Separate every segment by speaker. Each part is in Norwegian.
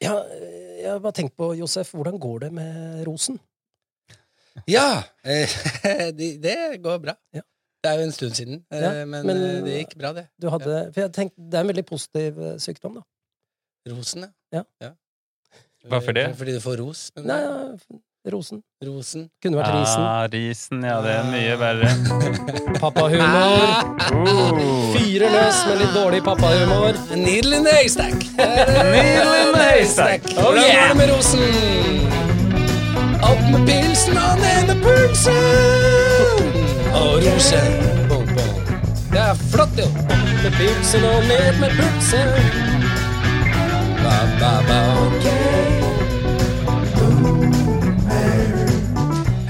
Speaker 1: Ja, jeg har bare tenkt på, Josef, hvordan går det med rosen?
Speaker 2: Ja! eh, de- Det går bra.
Speaker 1: Ja.
Speaker 2: Det er jo en stund siden, eh,
Speaker 1: Ja,
Speaker 2: men
Speaker 1: men-
Speaker 2: eh, det gikk bra, det.
Speaker 1: Du hadde, for jeg tenkte, Det er en veldig positiv eh, sykdom, da.
Speaker 2: Rosen,
Speaker 1: Ja.
Speaker 3: Hvorfor det?
Speaker 2: Fordi du får ros. Men
Speaker 1: Nei, ja, rosen.
Speaker 2: rosen
Speaker 1: Kunne vært risen.
Speaker 3: Ah, risen, ja. Det er mye verre.
Speaker 1: Pappahumor.
Speaker 3: Oh.
Speaker 1: Fyrer løs med litt dårlig pappahumor.
Speaker 2: Needle in the haystack!
Speaker 3: Needle in the haystack.
Speaker 2: Hvordan
Speaker 3: Oh, yeah.
Speaker 2: går det med rosen? Opp med pilsen og ned med pulsen! Og rosen. Boom, boom. Det er flott, jo. Opp med pilsen og ned med pulsen. Ba, ba, ba.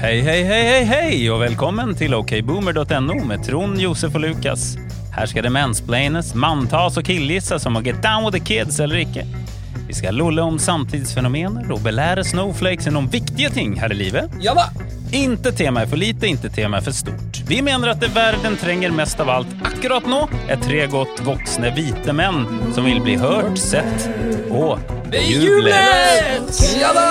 Speaker 3: Hei, hei, hei, hei, hei, og velkommen til okboomer.no med Trond, Josef og Lukas. Her skal det mansplaines, manntas og killgisses om å get down with the kids eller ikke. Vi skal lolle om samtidsfenomener og belære snowflakesen om viktige ting her i livet.
Speaker 2: Ja da!
Speaker 3: Inte tema er for lite, inte tema er for stort. Vi mener at det verden trenger mest av alt akkurat nå, er tre godt voksne hvite menn som vil bli hørt, sett og bejublet.
Speaker 2: Ja da!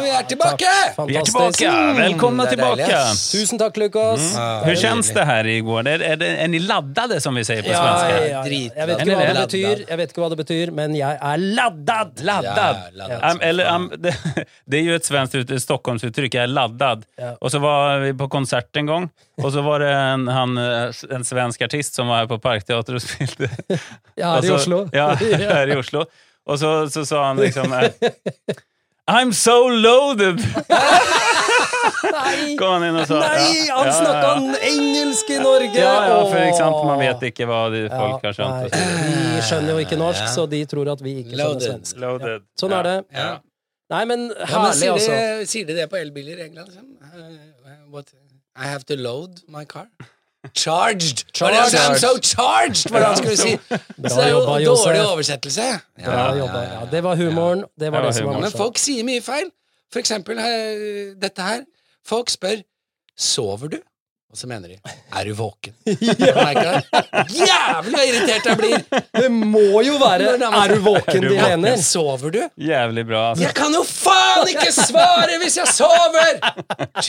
Speaker 2: Vi er tilbake!
Speaker 3: Vi er tilbake! Velkomna
Speaker 2: Mm, Det er deilig,
Speaker 3: tilbake!
Speaker 2: ass.
Speaker 1: Tusen takk, Lukas.
Speaker 2: Ja,
Speaker 3: Hur
Speaker 2: det er
Speaker 3: känns
Speaker 2: nydelig.
Speaker 3: det här igår? Är, är, det, är ni laddade som vi säger på
Speaker 2: Ja,
Speaker 3: svenska?
Speaker 2: ja,
Speaker 3: Ja,
Speaker 2: ja. drit-
Speaker 1: Jeg vet
Speaker 3: Eller
Speaker 1: ikke hva det
Speaker 2: laddad.
Speaker 1: betyr, jeg vet ikke hva det betyr men jeg er laddad!
Speaker 3: Laddad!
Speaker 2: Ja, laddad
Speaker 3: Am-
Speaker 2: som
Speaker 3: eller,
Speaker 2: fan.
Speaker 3: am, det, det är ju ett svenskt ut, ett Stockholmsuttryck, jag är laddad.
Speaker 1: Ja.
Speaker 3: Och så var vi på konsert en gång och så var det en, han, eh, en svensk artist som var här på Parkteatern och spelade.
Speaker 1: Jeg er
Speaker 3: Och
Speaker 1: i
Speaker 3: så-
Speaker 1: Oslo.
Speaker 3: Ja, här i Oslo. Och så, så sa han liksom eh, I'm so loaded!
Speaker 1: Nei,
Speaker 3: Kom han in och sa.
Speaker 1: nei,
Speaker 3: Ja,
Speaker 1: han
Speaker 3: ja,
Speaker 1: snakka
Speaker 3: ja.
Speaker 1: engelsk i Norge!
Speaker 3: Ja, ja, for
Speaker 1: Åh.
Speaker 3: eksempel. Man vet ikke hva de, folk har skjønt. og så
Speaker 1: nei,
Speaker 3: videre.
Speaker 1: De skjønner jo ikke norsk, så de tror at vi ikke skjønner
Speaker 2: Loaded.
Speaker 1: svensk.
Speaker 3: Loaded.
Speaker 1: Sånn er det.
Speaker 2: Ja.
Speaker 1: Nei, men
Speaker 2: Ja, men
Speaker 1: herlig,
Speaker 2: sier,
Speaker 1: altså.
Speaker 2: de, sier de det på elbiler i England? Liksom? Uh, what, I have to load my car. Charged! Var det han sa? I'm so charged! Var det han skulle si. Så det er jo
Speaker 1: jobba, Josef.
Speaker 2: dårlig oversettelse. Ja,
Speaker 1: Bra jobba. Ja, det var humoren. Det var det
Speaker 3: Det var
Speaker 1: som var
Speaker 3: humoren.
Speaker 2: Men
Speaker 1: morsomt.
Speaker 2: folk sier mye feil. For eksempel eh, dette her. Folk spør 'Sover du?' Og så mener de 'Er du våken?' Merker du? Jævlig så irritert jeg blir!
Speaker 1: Det må jo være 'er du våken' de mener.
Speaker 2: Sover du?
Speaker 3: Jævlig bra. Altså.
Speaker 2: Jeg kan jo faen ikke svare hvis jeg sover!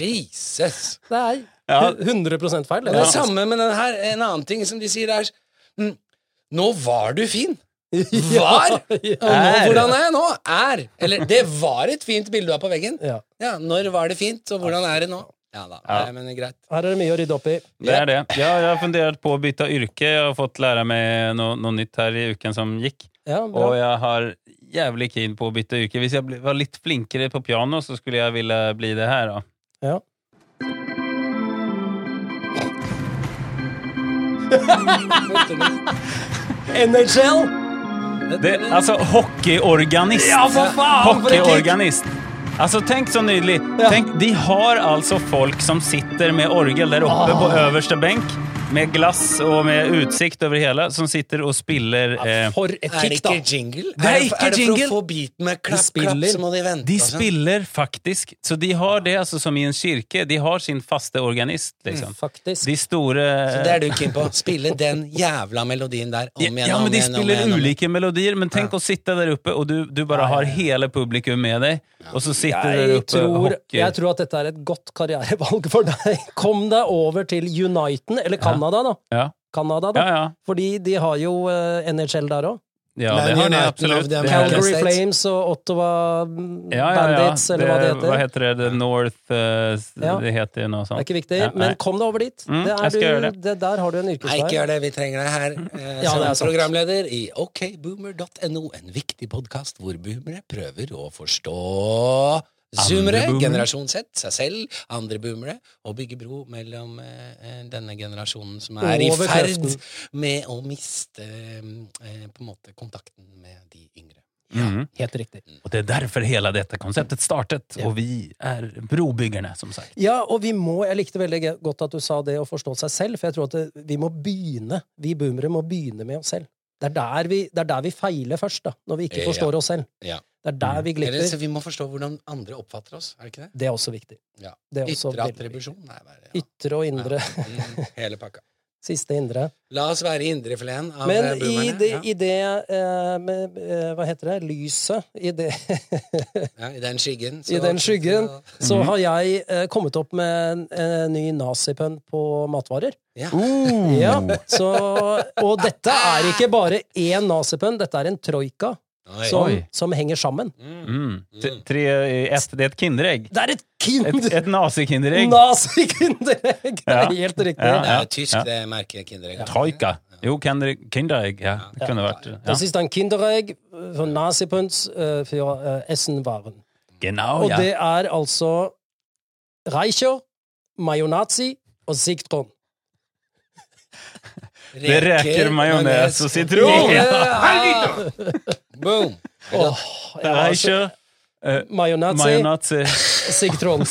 Speaker 2: Jesus.
Speaker 1: Det er
Speaker 3: Ja.
Speaker 1: 100 feil.
Speaker 2: Det er det
Speaker 1: Det.
Speaker 2: samme med den her. En annen ting som de sier, er mm, Nå var du fin. Var? Og nå,
Speaker 3: Er.
Speaker 2: hvordan er jeg nå? Er. Eller det var et fint bilde du har på veggen.
Speaker 1: Ja.
Speaker 2: Ja, når var det fint, og hvordan er det nå? Ja da.
Speaker 3: Ja.
Speaker 2: Nei, men det er greit.
Speaker 1: Her er det mye å rydde opp i.
Speaker 3: Det er det. Ja, jeg har fundert på å bytte yrke. Jeg har fått lære meg noe, noe nytt her i uken som gikk.
Speaker 1: Ja,
Speaker 3: Og
Speaker 1: bra.
Speaker 3: jeg har jævlig keen på å bytte yrke. Hvis jeg ble- var litt flinkere på piano, så skulle jeg ville bli det her. Da.
Speaker 1: Ja. NHL!
Speaker 3: Det, altså hockeyorganist!
Speaker 1: Ja, for faen, for det er
Speaker 3: hockeyorganist. Altså, tenk så nydelig.
Speaker 1: Ja.
Speaker 3: Tenk, de har altså folk som sitter med orgel der oppe på øverste benk, med glass og med utsikt over hele, som sitter og spiller eh,
Speaker 1: For et
Speaker 2: Er det
Speaker 1: kick, da!
Speaker 2: ikke jingle?
Speaker 3: er ikke
Speaker 2: er det
Speaker 3: jingle.
Speaker 2: for å få beaten med klapp, klapp,
Speaker 1: spiller.
Speaker 2: så må de vente?
Speaker 3: De
Speaker 2: og sånn.
Speaker 3: spiller faktisk, så de har det altså som i en kirke. De har sin faste organist, liksom.
Speaker 1: Faktisk.
Speaker 3: De store
Speaker 2: Så det er du keen på. Spille den jævla melodien der om
Speaker 3: Ja,
Speaker 2: igjen,
Speaker 3: ja,
Speaker 2: om
Speaker 3: men de
Speaker 2: igjen, om igjen, om
Speaker 3: spiller
Speaker 2: igjen.
Speaker 3: ulike melodier, men tenk å sitte der oppe, og du, du bare har hele publikum med deg, og så sitter du der
Speaker 1: Jeg
Speaker 3: oppe og
Speaker 1: tror,
Speaker 3: hockey.
Speaker 1: jeg tror at dette er et godt karrierevalg for deg. Kom deg over til Uniten, eller Canada, da.
Speaker 3: Ja,
Speaker 1: Canada, da.
Speaker 3: ja. ja.
Speaker 1: Fordi de har jo eh, NHL der òg.
Speaker 3: Ja,
Speaker 2: Men
Speaker 3: det har de
Speaker 2: United of the
Speaker 3: absolutt. Det har de.
Speaker 2: American
Speaker 1: Calgary
Speaker 2: States.
Speaker 1: Flames og Ottawa mm,
Speaker 3: ja, ja, ja.
Speaker 1: Bandits, eller hva det heter.
Speaker 3: Hva heter det? The North eh, s-
Speaker 1: Ja.
Speaker 3: Det heter noe
Speaker 1: Det er
Speaker 3: sånt.
Speaker 1: ikke viktig,
Speaker 3: Ja, nei.
Speaker 1: men kom deg over dit.
Speaker 3: Mm,
Speaker 1: det
Speaker 3: jeg skal
Speaker 1: er du,
Speaker 3: gjøre
Speaker 1: det. der har du en
Speaker 2: Nei, ikke
Speaker 1: yrkesvei.
Speaker 2: gjør det. Vi trenger deg her
Speaker 1: Ja, det
Speaker 2: eh,
Speaker 1: er
Speaker 2: som
Speaker 1: sant.
Speaker 2: programleder i okboomer.no. En viktig podkast hvor boomere prøver å forstå zoomere,
Speaker 3: boomere.
Speaker 2: generasjon Z, seg selv, andre boomere, og bygge bro mellom eh, eh, denne generasjonen som er i
Speaker 1: Over
Speaker 2: ferd
Speaker 1: kreften.
Speaker 2: med å miste eh, på en måte kontakten med de yngre.
Speaker 3: Mhm.
Speaker 1: Helt riktig.
Speaker 3: Og det er derfor hele dette konseptet startet, og vi er brobyggerne, som sagt.
Speaker 1: Ja, og vi må, jeg likte veldig ge- godt at du sa det å forstå seg selv, for jeg tror at det, vi må begynne, vi boomere må begynne med oss selv. Det er der vi, det er der vi feiler først, da, når vi ikke
Speaker 2: Ja.
Speaker 1: forstår oss selv.
Speaker 2: Ja. Mm.
Speaker 1: Det er der vi
Speaker 2: Eller, så
Speaker 1: glipper.
Speaker 2: vi må forstå hvordan andre oppfatter oss, er det ikke det?
Speaker 1: Det er også viktig.
Speaker 2: Ja.
Speaker 1: Det er også
Speaker 2: Ytre
Speaker 1: veldig viktig.
Speaker 2: attribusjon? Nei, hva er det?
Speaker 1: Ytre og indre.
Speaker 2: Ja. Mm, Hele pakka.
Speaker 1: Siste indre.
Speaker 2: La oss være indrefileten av eh,
Speaker 1: Men i
Speaker 2: boomerne.
Speaker 1: det,
Speaker 2: ja.
Speaker 1: i det eh, med, eh, Hva heter det? Lyset. I, det,
Speaker 2: Ja, I den skyggen.
Speaker 1: I
Speaker 2: så-
Speaker 1: den skyggen
Speaker 2: så-
Speaker 1: så har jeg eh, kommet opp med en, en ny nazipønn på matvarer.
Speaker 2: Ja.
Speaker 1: Ja,
Speaker 3: Uh.
Speaker 1: så, og dette er ikke bare én nazipønn, dette er en troika
Speaker 2: Oi.
Speaker 1: som,
Speaker 3: Oi.
Speaker 1: som henger sammen.
Speaker 2: Mm.
Speaker 3: Mm. T- Tre i ett, det er et Kinderegg.
Speaker 1: Det er et
Speaker 3: Ett,
Speaker 1: kinder...
Speaker 3: et nazi-Kinderegg.
Speaker 1: Nazi-kinderegg! Det
Speaker 3: Ja.
Speaker 1: er helt riktig.
Speaker 3: Ja,
Speaker 2: Det
Speaker 3: ja.
Speaker 2: er jo tysk, det merker Kinderegg.
Speaker 3: Troika. Jo, Kinder- Kinderegg. Ja, det kunne vært ja.
Speaker 1: Das ist ein Kinderegg von Nazipunts äh, für äh, Essenwaren.
Speaker 3: Genau,
Speaker 1: og
Speaker 3: ja.
Speaker 1: det er altså Reicher, Majonazi og Sigtron.
Speaker 3: Det reker majones og sitron!
Speaker 2: Ja. Boom!
Speaker 1: Åh, ja, altså,
Speaker 3: Reicher,
Speaker 1: Majonazi,
Speaker 3: majonazi,
Speaker 1: Sigtron.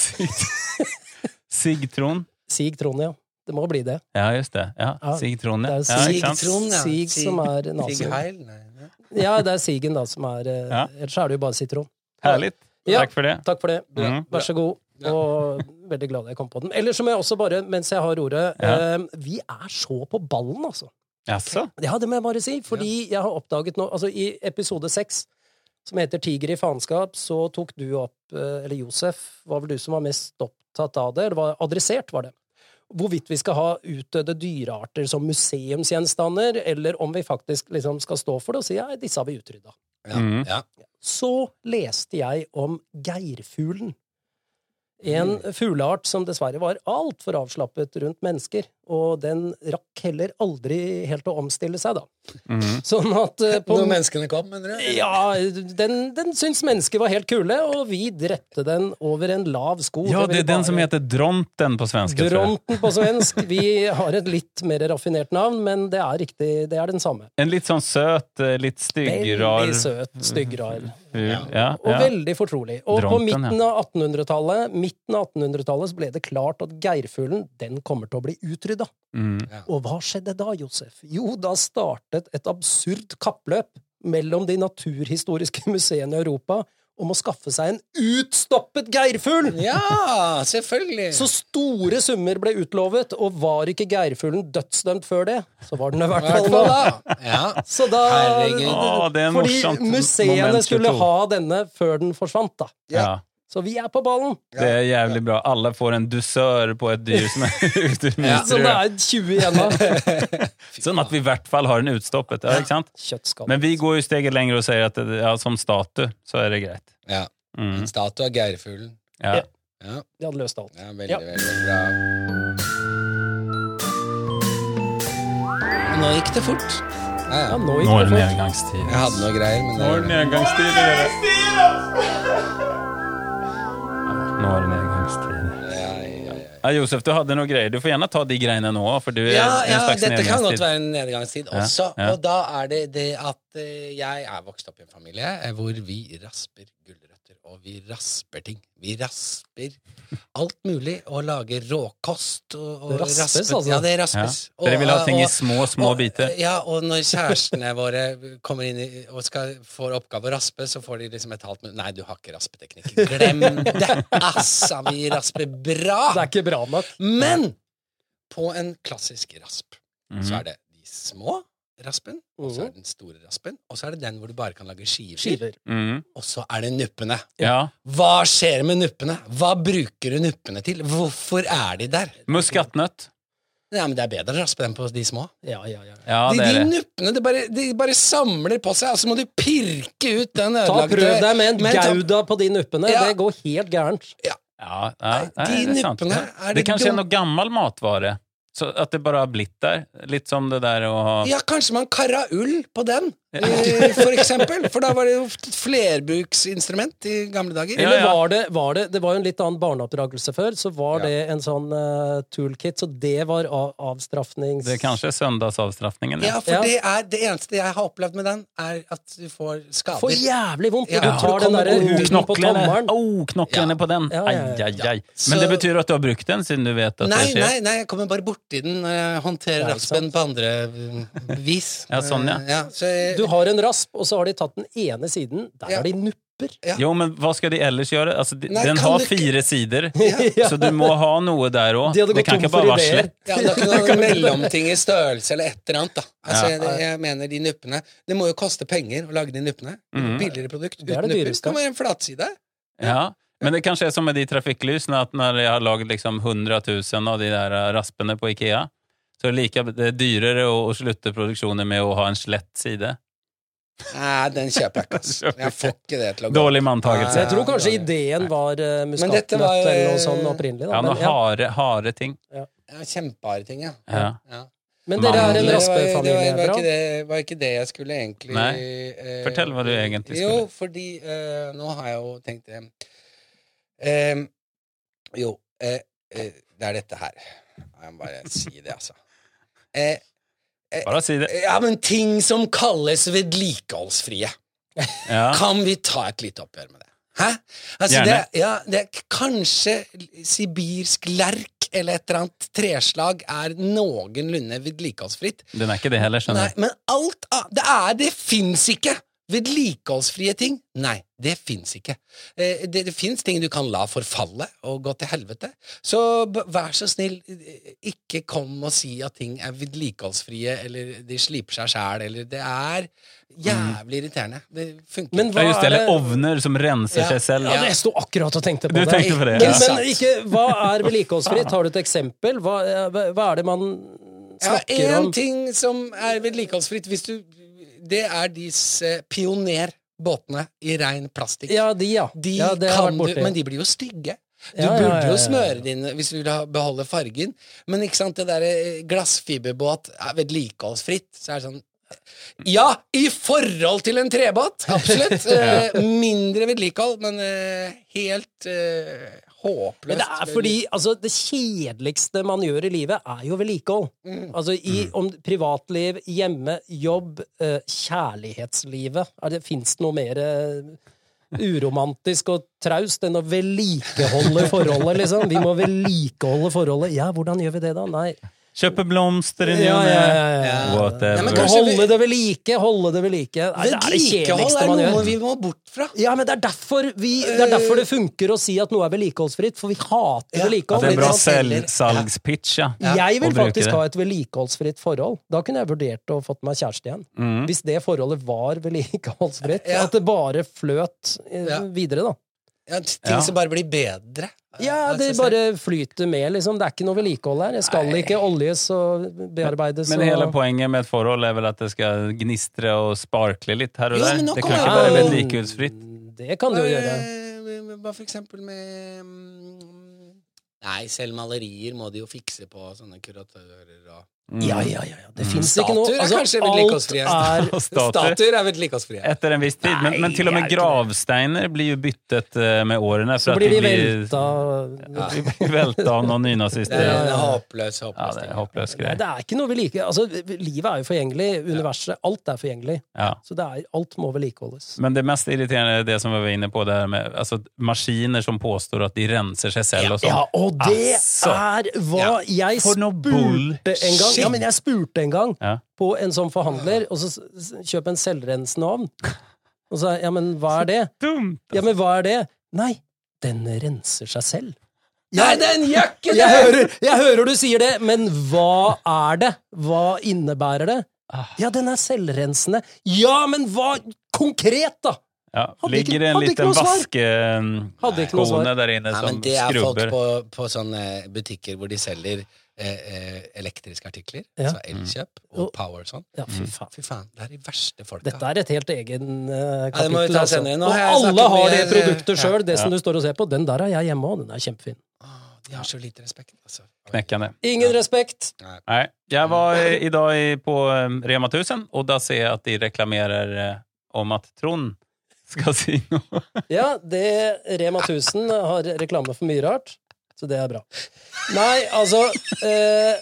Speaker 3: sigtron.
Speaker 1: Sigtron, ja. Det må bli det.
Speaker 3: Ja, just det. Ja,
Speaker 1: Ja,
Speaker 3: sigtron.
Speaker 1: det
Speaker 3: Ja,
Speaker 1: er
Speaker 3: Ja, ikke sant?
Speaker 1: sigtron. Sig som er altså- nazi.
Speaker 2: Sig Heil? Nei. ja.
Speaker 1: Ja, det er Sigen da som er eh,
Speaker 3: Ja.
Speaker 1: Ellers er det jo bare sitron.
Speaker 3: Herlig.
Speaker 1: Ja.
Speaker 3: Takk for det.
Speaker 1: Takk for det.
Speaker 3: Mm.
Speaker 1: Vær så god. Og veldig glad jeg kom på den. Ellers så må jeg også bare, mens jeg har ordet
Speaker 3: Ja.
Speaker 1: eh, Vi er så på ballen, altså.
Speaker 3: Jaså?
Speaker 1: Ja, det må jeg bare si, fordi jeg har oppdaget nå Altså, i episode seks, som heter Tiger i faenskap, så tok du opp eh, Eller Josef, var vel du som var mest opptatt av det? Eller var adressert, var det? Hvorvidt vi skal ha utdødde dyrearter som museumsgjenstander, eller om vi faktisk liksom skal stå for det og si ja, disse har vi utrydda.
Speaker 3: Mm.
Speaker 2: Ja.
Speaker 1: Så leste jeg om geirfuglen. En
Speaker 3: Mm.
Speaker 1: fugleart som dessverre var altfor avslappet rundt mennesker, og den rakk heller aldri helt å omstille seg, da.
Speaker 3: Mm.
Speaker 1: Sånn at eh, på,
Speaker 2: Når menneskene kom, mener du?
Speaker 1: Ja, den, den syntes mennesket var helt kule, og vi drepte den over en lav sko.
Speaker 3: Ja,
Speaker 1: vil
Speaker 3: det er den
Speaker 1: bare-
Speaker 3: som heter Dronten på svenska, tror jeg.
Speaker 1: Dronten på svensk. Vi har et litt mer raffinert navn, men det er riktig, det er den samme.
Speaker 3: En litt sånn søt, eh, litt stygg, rar
Speaker 1: Veldig søt, styggrar.
Speaker 3: fugl. Ja,
Speaker 1: Og
Speaker 3: ja.
Speaker 1: veldig fortrolig. Og på
Speaker 3: Dronten, ja.
Speaker 1: midten av 1800-tallet midten av 1800-tallet så ble det klart at geirfuglen den kommer til å bli utrydda.
Speaker 3: Mm.
Speaker 1: Og hva skjedde da, Josef? Jo, da startet et absurd kappløp mellom de naturhistoriske museene i Europa om å skaffe seg en utstoppet geirfugl!
Speaker 2: Ja, selvfølgelig!
Speaker 1: Så store summer ble utlovet, og var ikke geirfuglen dødsdømt før det, så var den i
Speaker 2: I
Speaker 1: hvert
Speaker 2: hvert
Speaker 1: fall
Speaker 2: fall
Speaker 1: nå.
Speaker 2: da. Ja.
Speaker 1: Så da
Speaker 2: Herregud.
Speaker 3: Å, det er
Speaker 1: Fordi
Speaker 3: morsomt.
Speaker 1: museene
Speaker 3: Moment
Speaker 1: skulle
Speaker 3: 22.
Speaker 1: ha denne før den forsvant, da.
Speaker 3: Ja.
Speaker 1: Så vi er på ballen!
Speaker 3: Det er jævlig bra. Alle får en dusør på et dyr som er ute i
Speaker 1: Så det
Speaker 3: mistrua.
Speaker 1: er 20 igjen av
Speaker 3: Sånn at vi i hvert fall har en utstoppet. Ja, ikke sant?
Speaker 1: kjøttskall.
Speaker 3: Men vi går jo steget lenger og sier at det, ja, som statue så er det greit.
Speaker 2: Ja.
Speaker 3: Mm.
Speaker 2: En statue av geirfuglen.
Speaker 3: Ja.
Speaker 1: Ja.
Speaker 2: Ja.
Speaker 1: Vi hadde løst alt.
Speaker 2: ja, veldig,
Speaker 1: Ja.
Speaker 2: veldig bra. Nå gikk det fort. Ja,
Speaker 1: Ja,
Speaker 2: ja.
Speaker 1: nå
Speaker 3: Nå
Speaker 1: gikk
Speaker 3: er det
Speaker 1: det fort.
Speaker 3: nedgangstid.
Speaker 2: Jeg hadde noe greier, men
Speaker 3: Nå er det
Speaker 2: det,
Speaker 3: nedgangstid. Nå er det nedgangstid.
Speaker 2: ja, ja, ja.
Speaker 3: Ja, Josef, du hadde noen greier. Du får gjerne ta de greiene nå, for du er
Speaker 2: Ja,
Speaker 3: en
Speaker 2: ja
Speaker 3: slags
Speaker 2: dette kan godt
Speaker 3: nedgangstid.
Speaker 2: være en nedgangstid også.
Speaker 3: ja.
Speaker 2: Og da er det det at eh, jeg er vokst opp i en familie eh, hvor vi rasper gulrøtter, og vi rasper ting. Vi rasper alt mulig, og lager råkost. Og, og
Speaker 1: Det raspes,
Speaker 2: raspet-
Speaker 1: altså?
Speaker 2: Ja, det
Speaker 3: Ja.
Speaker 2: raspes.
Speaker 3: Dere vil ha
Speaker 2: Og,
Speaker 3: ting i
Speaker 2: og-
Speaker 3: små, små
Speaker 2: og-
Speaker 3: biter.
Speaker 2: Ja, og når kjærestene våre kommer inn i, og skal, får oppgave å raspe, så får de liksom et halvt minutt Nei, du har ikke raspeteknikk. Glem det! Assa, vi rasper bra!
Speaker 1: Det er ikke bra nok.
Speaker 2: Men på en klassisk rasp så
Speaker 3: Mhm.
Speaker 2: er det de små raspen, og så er
Speaker 1: Mhm.
Speaker 2: det den store raspen, og så er det den hvor du bare kan lage skiver,
Speaker 1: Skiver.
Speaker 3: Mhm.
Speaker 2: og så er det nuppene.
Speaker 3: Ja.
Speaker 2: Hva skjer med nuppene? Hva bruker du nuppene til? Hvorfor er de der?
Speaker 3: Muskatnøtt.
Speaker 2: Nei, men Det er bedre å raspe dem på de små.
Speaker 1: Ja, ja, ja.
Speaker 3: Ja,
Speaker 2: de, de
Speaker 3: det er det.
Speaker 2: nuppene de bare, de bare samler på seg, og så må du pirke ut den
Speaker 1: Ta
Speaker 2: ødelagte
Speaker 1: Prøv deg med en
Speaker 2: Men ta-
Speaker 1: gouda på de nuppene.
Speaker 2: Ja.
Speaker 1: Det går helt gærent.
Speaker 3: Ja, ja,
Speaker 2: Nei, de
Speaker 3: det er sant.
Speaker 2: nippene er
Speaker 3: Det
Speaker 2: det
Speaker 3: kanskje er
Speaker 2: dum-
Speaker 3: noe gammel matvare. Så at det bare har blitt der. Litt som det der å ha
Speaker 2: Ja, kanskje man karra ull på den, eh, for eksempel. For da var det jo et flerbruksinstrument i gamle dager.
Speaker 3: Ja,
Speaker 1: Eller
Speaker 3: ja.
Speaker 1: var det, var det Det var jo en litt annen barneoppdragelse før, så var
Speaker 2: Ja.
Speaker 1: det en sånn eh, toolkit, så det var av, avstraffnings...
Speaker 3: Det kanskje er søndagsavstraffningen.
Speaker 2: Ja, for
Speaker 1: Ja.
Speaker 2: Det, er, det eneste jeg har opplevd med den, er at du får skader.
Speaker 1: For jævlig vondt!
Speaker 2: Ja.
Speaker 1: når Du tar den
Speaker 2: Ja.
Speaker 1: derre
Speaker 2: Og
Speaker 1: huden på
Speaker 3: Knoklene.
Speaker 1: tommelen.
Speaker 3: Au, knoklene på den.
Speaker 1: Ja, ja,
Speaker 3: Ai,
Speaker 1: ja.
Speaker 3: ai, ai.
Speaker 2: Så-
Speaker 3: Men det betyr at du har brukt den, siden du vet at
Speaker 2: nei,
Speaker 3: det
Speaker 2: nei,
Speaker 3: skjer?
Speaker 2: nei, jeg kommer bare borti den når jeg håndterer
Speaker 1: Ja, ikke
Speaker 2: raspen
Speaker 1: sant.
Speaker 2: på andre mm, vis.
Speaker 3: Ja, sånn, ja.
Speaker 2: Eh, så jeg,
Speaker 1: Du har en rasp, og så har de tatt den ene siden. Der
Speaker 2: Ja.
Speaker 1: har de nuppet super.
Speaker 2: Ja.
Speaker 3: Jo, men hva skal de ellers gjøre? Altså, de,
Speaker 2: Nei,
Speaker 3: den
Speaker 2: kan
Speaker 3: har
Speaker 2: du ikke-
Speaker 3: fire sider,
Speaker 1: Ja.
Speaker 3: så du må ha noe der òg.
Speaker 1: De hadde
Speaker 3: Det
Speaker 1: gått
Speaker 3: kan
Speaker 1: tom
Speaker 3: ikke
Speaker 1: for
Speaker 3: bare være
Speaker 1: ideer.
Speaker 3: slett.
Speaker 2: Ja, da kan du ha en mellomting i størrelse eller et eller annet. da Altså,
Speaker 3: Ja.
Speaker 2: jeg, jeg mener de nuppene Det må jo koste penger å lage de nuppene.
Speaker 3: Mhm.
Speaker 2: Billigere produkt
Speaker 1: Det er
Speaker 2: uten
Speaker 1: det
Speaker 2: nupper.
Speaker 1: dyreste.
Speaker 2: Kan være en flatside.
Speaker 3: Ja. Men det kanskje er som med de trafikklysene, at når jeg har lagd liksom 100 000 av de der eh, raspene på Ikea, så er det, like, det er dyrere å, å slutte produksjonen med å ha en slett side.
Speaker 2: Nei, den kjøper jeg ikke. ass.
Speaker 3: Kjøper
Speaker 2: Jeg får ikke det til å gå.
Speaker 3: Dårlig
Speaker 1: Så
Speaker 3: manntagelse.
Speaker 1: jeg tror kanskje
Speaker 2: Ja, ja.
Speaker 1: ideen var uh,
Speaker 2: dette
Speaker 1: muskatnøtt
Speaker 2: var, eh,
Speaker 1: eller noe sånn opprinnelig. Da.
Speaker 3: Ja, noen
Speaker 1: men, ja.
Speaker 3: harde, harde ting.
Speaker 2: Ja, Kjempeharde ting, ja.
Speaker 3: Ja.
Speaker 2: Ja.
Speaker 1: men dere er en
Speaker 3: Mandler.
Speaker 2: Det var-
Speaker 1: raspefamilie,
Speaker 2: Det var, var, ikke
Speaker 1: bra?
Speaker 2: det, var ikke det jeg skulle egentlig
Speaker 3: Nei.
Speaker 2: eh,
Speaker 3: Fortell hva du egentlig skulle.
Speaker 2: Jo, fordi eh, nå har jeg jo tenkt det. Em, jo, eh, eh, det er dette her. Jeg må bare si det, altså. Eh,
Speaker 3: Bare si det.
Speaker 2: ja, men ting som kalles vedlikeholdsfrie.
Speaker 3: Ja.
Speaker 2: Kan vi ta et lite oppgjør med det? Hæ? Altså,
Speaker 3: Gjerne.
Speaker 2: det, ja, det er kanskje sibirsk lerk eller et eller annet treslag er noenlunde vedlikeholdsfritt.
Speaker 3: Den er ikke det heller,
Speaker 2: Nei,
Speaker 3: skjønner du.
Speaker 2: men alt annet Det er Det fins ikke! Vedlikeholdsfrie ting? Nei, det fins ikke. Eh, Det, det fins ting du kan la forfalle og gå til helvete. Så b- vær så snill, eh, ikke kom og si at ting er vedlikeholdsfrie, eller de sliper seg sjæl, eller Det er jævlig irriterende. Det funker
Speaker 1: Mm. Men
Speaker 3: Ja,
Speaker 1: hva
Speaker 3: just det.
Speaker 1: er det-
Speaker 3: Eller ovner som renser
Speaker 2: Ja.
Speaker 3: seg selv.
Speaker 1: Ja, det sto akkurat og tenkte på
Speaker 3: Du
Speaker 1: det.
Speaker 3: tenkte på
Speaker 1: Men,
Speaker 3: det, ja.
Speaker 1: men ikke, hva er vedlikeholdsfritt? Har du et eksempel? Hva, eh, hva er det man
Speaker 2: Ja,
Speaker 1: snakker
Speaker 2: én
Speaker 1: om?
Speaker 2: ting som er vedlikeholdsfritt, hvis du Det er disse pionerbåtene i rein plastikk.
Speaker 1: Ja, de, ja.
Speaker 2: De
Speaker 1: ja det har jeg
Speaker 2: kan
Speaker 1: vært
Speaker 2: du,
Speaker 1: borti.
Speaker 2: men de blir jo stygge. Du
Speaker 1: Ja, ja, ja,
Speaker 2: burde
Speaker 1: ja,
Speaker 2: jo
Speaker 1: ja.
Speaker 2: smøre dine hvis du vil ha- beholde fargen, men ikke sant, det derre glassfiberbåt er vedlikeholdsfritt, så er det sånn Ja, i forhold til en trebåt! Absolutt. Eh, Mindre vedlikehold, men eh, helt eh, håpløst.
Speaker 1: Men det er fordi altså, det kjedeligste man gjør i livet, er jo vedlikehold.
Speaker 2: Mm.
Speaker 1: Altså i
Speaker 3: Mm.
Speaker 1: om privatliv, hjemme, jobb, eh, kjærlighetslivet. Er det Fins det noe mer eh, uromantisk og traust enn å vedlikeholde forholdet, liksom? Vi må vedlikeholde forholdet. Ja, hvordan gjør vi det, da? Nei.
Speaker 3: Kjøpe blomster i ny
Speaker 1: Ja,
Speaker 3: og
Speaker 1: ja,
Speaker 3: ne.
Speaker 1: ja, ja.
Speaker 2: Ja, men
Speaker 3: Whatever.
Speaker 1: Å
Speaker 2: kanskje- vi-
Speaker 1: holde det ved like, holde det ved like. Nei, det er det
Speaker 2: Vedlikehold
Speaker 1: kjedeligste
Speaker 2: er
Speaker 1: man
Speaker 2: noe
Speaker 1: gjør.
Speaker 2: vi må bort fra.
Speaker 1: Ja, men det er, derfor vi, det er derfor det funker å si at noe er vedlikeholdsfritt, for vi hater
Speaker 2: Ja,
Speaker 3: At
Speaker 1: vedlikehold.
Speaker 3: det er en bra
Speaker 2: Litt sånn
Speaker 3: sel-
Speaker 2: selger.
Speaker 3: salgspitch, ja.
Speaker 1: Jeg
Speaker 3: Og
Speaker 1: vil
Speaker 3: bruke
Speaker 1: faktisk
Speaker 3: det.
Speaker 1: ha et vedlikeholdsfritt forhold. Da kunne jeg vurdert å fått meg kjæreste igjen.
Speaker 3: Mm.
Speaker 1: Hvis det forholdet var vedlikeholdsfritt.
Speaker 2: Ja.
Speaker 1: At det bare fløt eh,
Speaker 2: Ja.
Speaker 1: videre, da.
Speaker 2: Ja, ting
Speaker 3: Ja.
Speaker 2: som bare blir bedre.
Speaker 1: Ja,
Speaker 2: Eh,
Speaker 1: det
Speaker 2: altså,
Speaker 1: bare flyter med, liksom. Det er ikke noe vedlikehold her. Det skal ikke oljes og bearbeides
Speaker 3: Men
Speaker 1: og
Speaker 3: hele poenget med et forhold er vel at det skal gnistre og sparkle litt her og
Speaker 2: Jo,
Speaker 3: der.
Speaker 2: men nå
Speaker 3: Det kan
Speaker 2: kommer
Speaker 3: ikke
Speaker 2: jeg
Speaker 3: være
Speaker 2: på-
Speaker 3: vedlikeholdsfritt.
Speaker 1: Det kan du jo gjøre.
Speaker 2: Eh, Hva for eksempel med mm, Nei, selv malerier må de jo fikse på sånne kuratører og
Speaker 3: Mm.
Speaker 1: Ja, ja, ja. ja. Det fins
Speaker 2: Statuer
Speaker 1: ikke noe. altså,
Speaker 2: er kanskje
Speaker 1: alt
Speaker 2: vedlikeholdsfrie.
Speaker 1: er
Speaker 3: Og statuer.
Speaker 2: Statuer er vedlikeholdsfrie.
Speaker 3: Etter en viss tid. Men, men til og med
Speaker 1: Nei, jeg er ikke
Speaker 3: gravsteiner blir jo byttet eh, med årene. For
Speaker 1: Så
Speaker 3: at
Speaker 1: blir de
Speaker 3: de blir
Speaker 1: velta
Speaker 3: de blir velta av noen
Speaker 2: Det er
Speaker 3: nynazister.
Speaker 2: en håpløs, håpløs
Speaker 3: Ja, det er
Speaker 2: ting.
Speaker 3: en håpløs
Speaker 1: Nei,
Speaker 3: greie.
Speaker 1: det er ikke noe vedlikehold. Altså, livet er jo forgjengelig. Universet. Alt er forgjengelig.
Speaker 3: Ja.
Speaker 1: Så det er, alt må vedlikeholdes.
Speaker 3: Men det mest irriterende er det som vi var inne på, det her med altså, maskiner som påstår at de renser seg selv og sånn.
Speaker 1: Ja, og det
Speaker 3: Altså.
Speaker 1: er hva jeg
Speaker 3: For noe
Speaker 1: spurte en gang
Speaker 3: bullshit.
Speaker 1: Ja, men jeg spurte en gang
Speaker 3: Ja.
Speaker 1: på en sånn forhandler, og så s- s- kjøp en selvrensende ovn. Og så ja, men hva er det?
Speaker 3: Dumt!
Speaker 1: Ja, men hva er det? Nei, den renser seg selv.
Speaker 2: Nei, den gjør ikke
Speaker 1: Jeg
Speaker 2: det!
Speaker 1: hører, jeg hører du sier det, men hva er det? Hva innebærer det?
Speaker 3: Ah.
Speaker 1: Ja, den er selvrensende. Ja, men hva konkret, da?
Speaker 3: Ja.
Speaker 1: Hadde ikke-
Speaker 3: Ligger det en
Speaker 1: hadde ikke
Speaker 3: liten
Speaker 1: noe svar. Hadde ikke noe
Speaker 3: vaskekone
Speaker 1: svar.
Speaker 3: der inne
Speaker 2: Nei,
Speaker 3: som
Speaker 2: men det er folk
Speaker 3: Sånn skrubber?
Speaker 2: på, på sånne butikker hvor de selger eh, eh, elektriske artikler.
Speaker 1: Ja.
Speaker 3: Mm.
Speaker 2: Så Elkjøp og
Speaker 1: Og-
Speaker 2: Power og sånn.
Speaker 1: Ja, fy faen.
Speaker 2: Fy faen, det er de verste folka.
Speaker 1: Dette er et helt egen eh,
Speaker 2: Ja, det må vi
Speaker 1: kapittel.
Speaker 2: ta
Speaker 1: altså.
Speaker 2: senere. Nå
Speaker 1: Og
Speaker 2: har jeg
Speaker 1: alle
Speaker 2: snakket
Speaker 1: har det
Speaker 2: mye- eh,
Speaker 1: produktet
Speaker 2: Ja,
Speaker 1: sjøl, det som du står og ser på. Den der har jeg hjemme òg, den er kjempefin.
Speaker 2: Åh, de har så lite respekt, altså.
Speaker 3: Knekkende.
Speaker 1: Ingen respekt!
Speaker 3: Nei. Jeg var
Speaker 1: Mm.
Speaker 3: i dag i- på eh, Rema 1000, og da ser jeg at de reklamerer eh, om at Trond skal si noe.
Speaker 1: Ja, det Rema 1000 har reklame for mye rart, så det er bra. Nei, altså eh,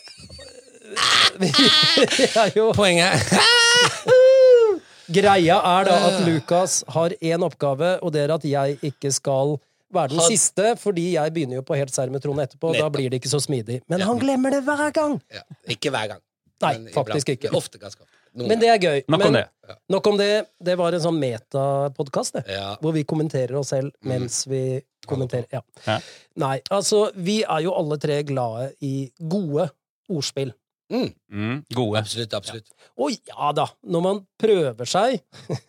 Speaker 1: Vi er jo
Speaker 2: Poenget
Speaker 1: Greia er da at Lukas har én oppgave, og det er at jeg ikke skal være den
Speaker 2: Han-
Speaker 1: siste, fordi jeg begynner jo på helt serr med Trond etterpå, og da
Speaker 2: Nettopp.
Speaker 1: blir det ikke så smidig. Men han glemmer det hver gang!
Speaker 2: ja, Ikke hver gang.
Speaker 1: Nei,
Speaker 2: men iblant.
Speaker 1: faktisk ikke.
Speaker 2: Ofte ganske ofte. noen
Speaker 1: Men det er gøy.
Speaker 3: Nok
Speaker 1: Men
Speaker 3: om det.
Speaker 1: nok om det. Det var en sånn metapodkast, det.
Speaker 2: ganger. Ja.
Speaker 1: Hvor vi kommenterer oss selv mens vi kommenterer. Ja.
Speaker 3: Mm. Ja.
Speaker 1: Nei, altså Vi er jo alle tre glade i gode ordspill.
Speaker 2: Mm,
Speaker 3: Mm, gode.
Speaker 2: absolutt, absolutt.
Speaker 1: Og ja da, når man prøver seg,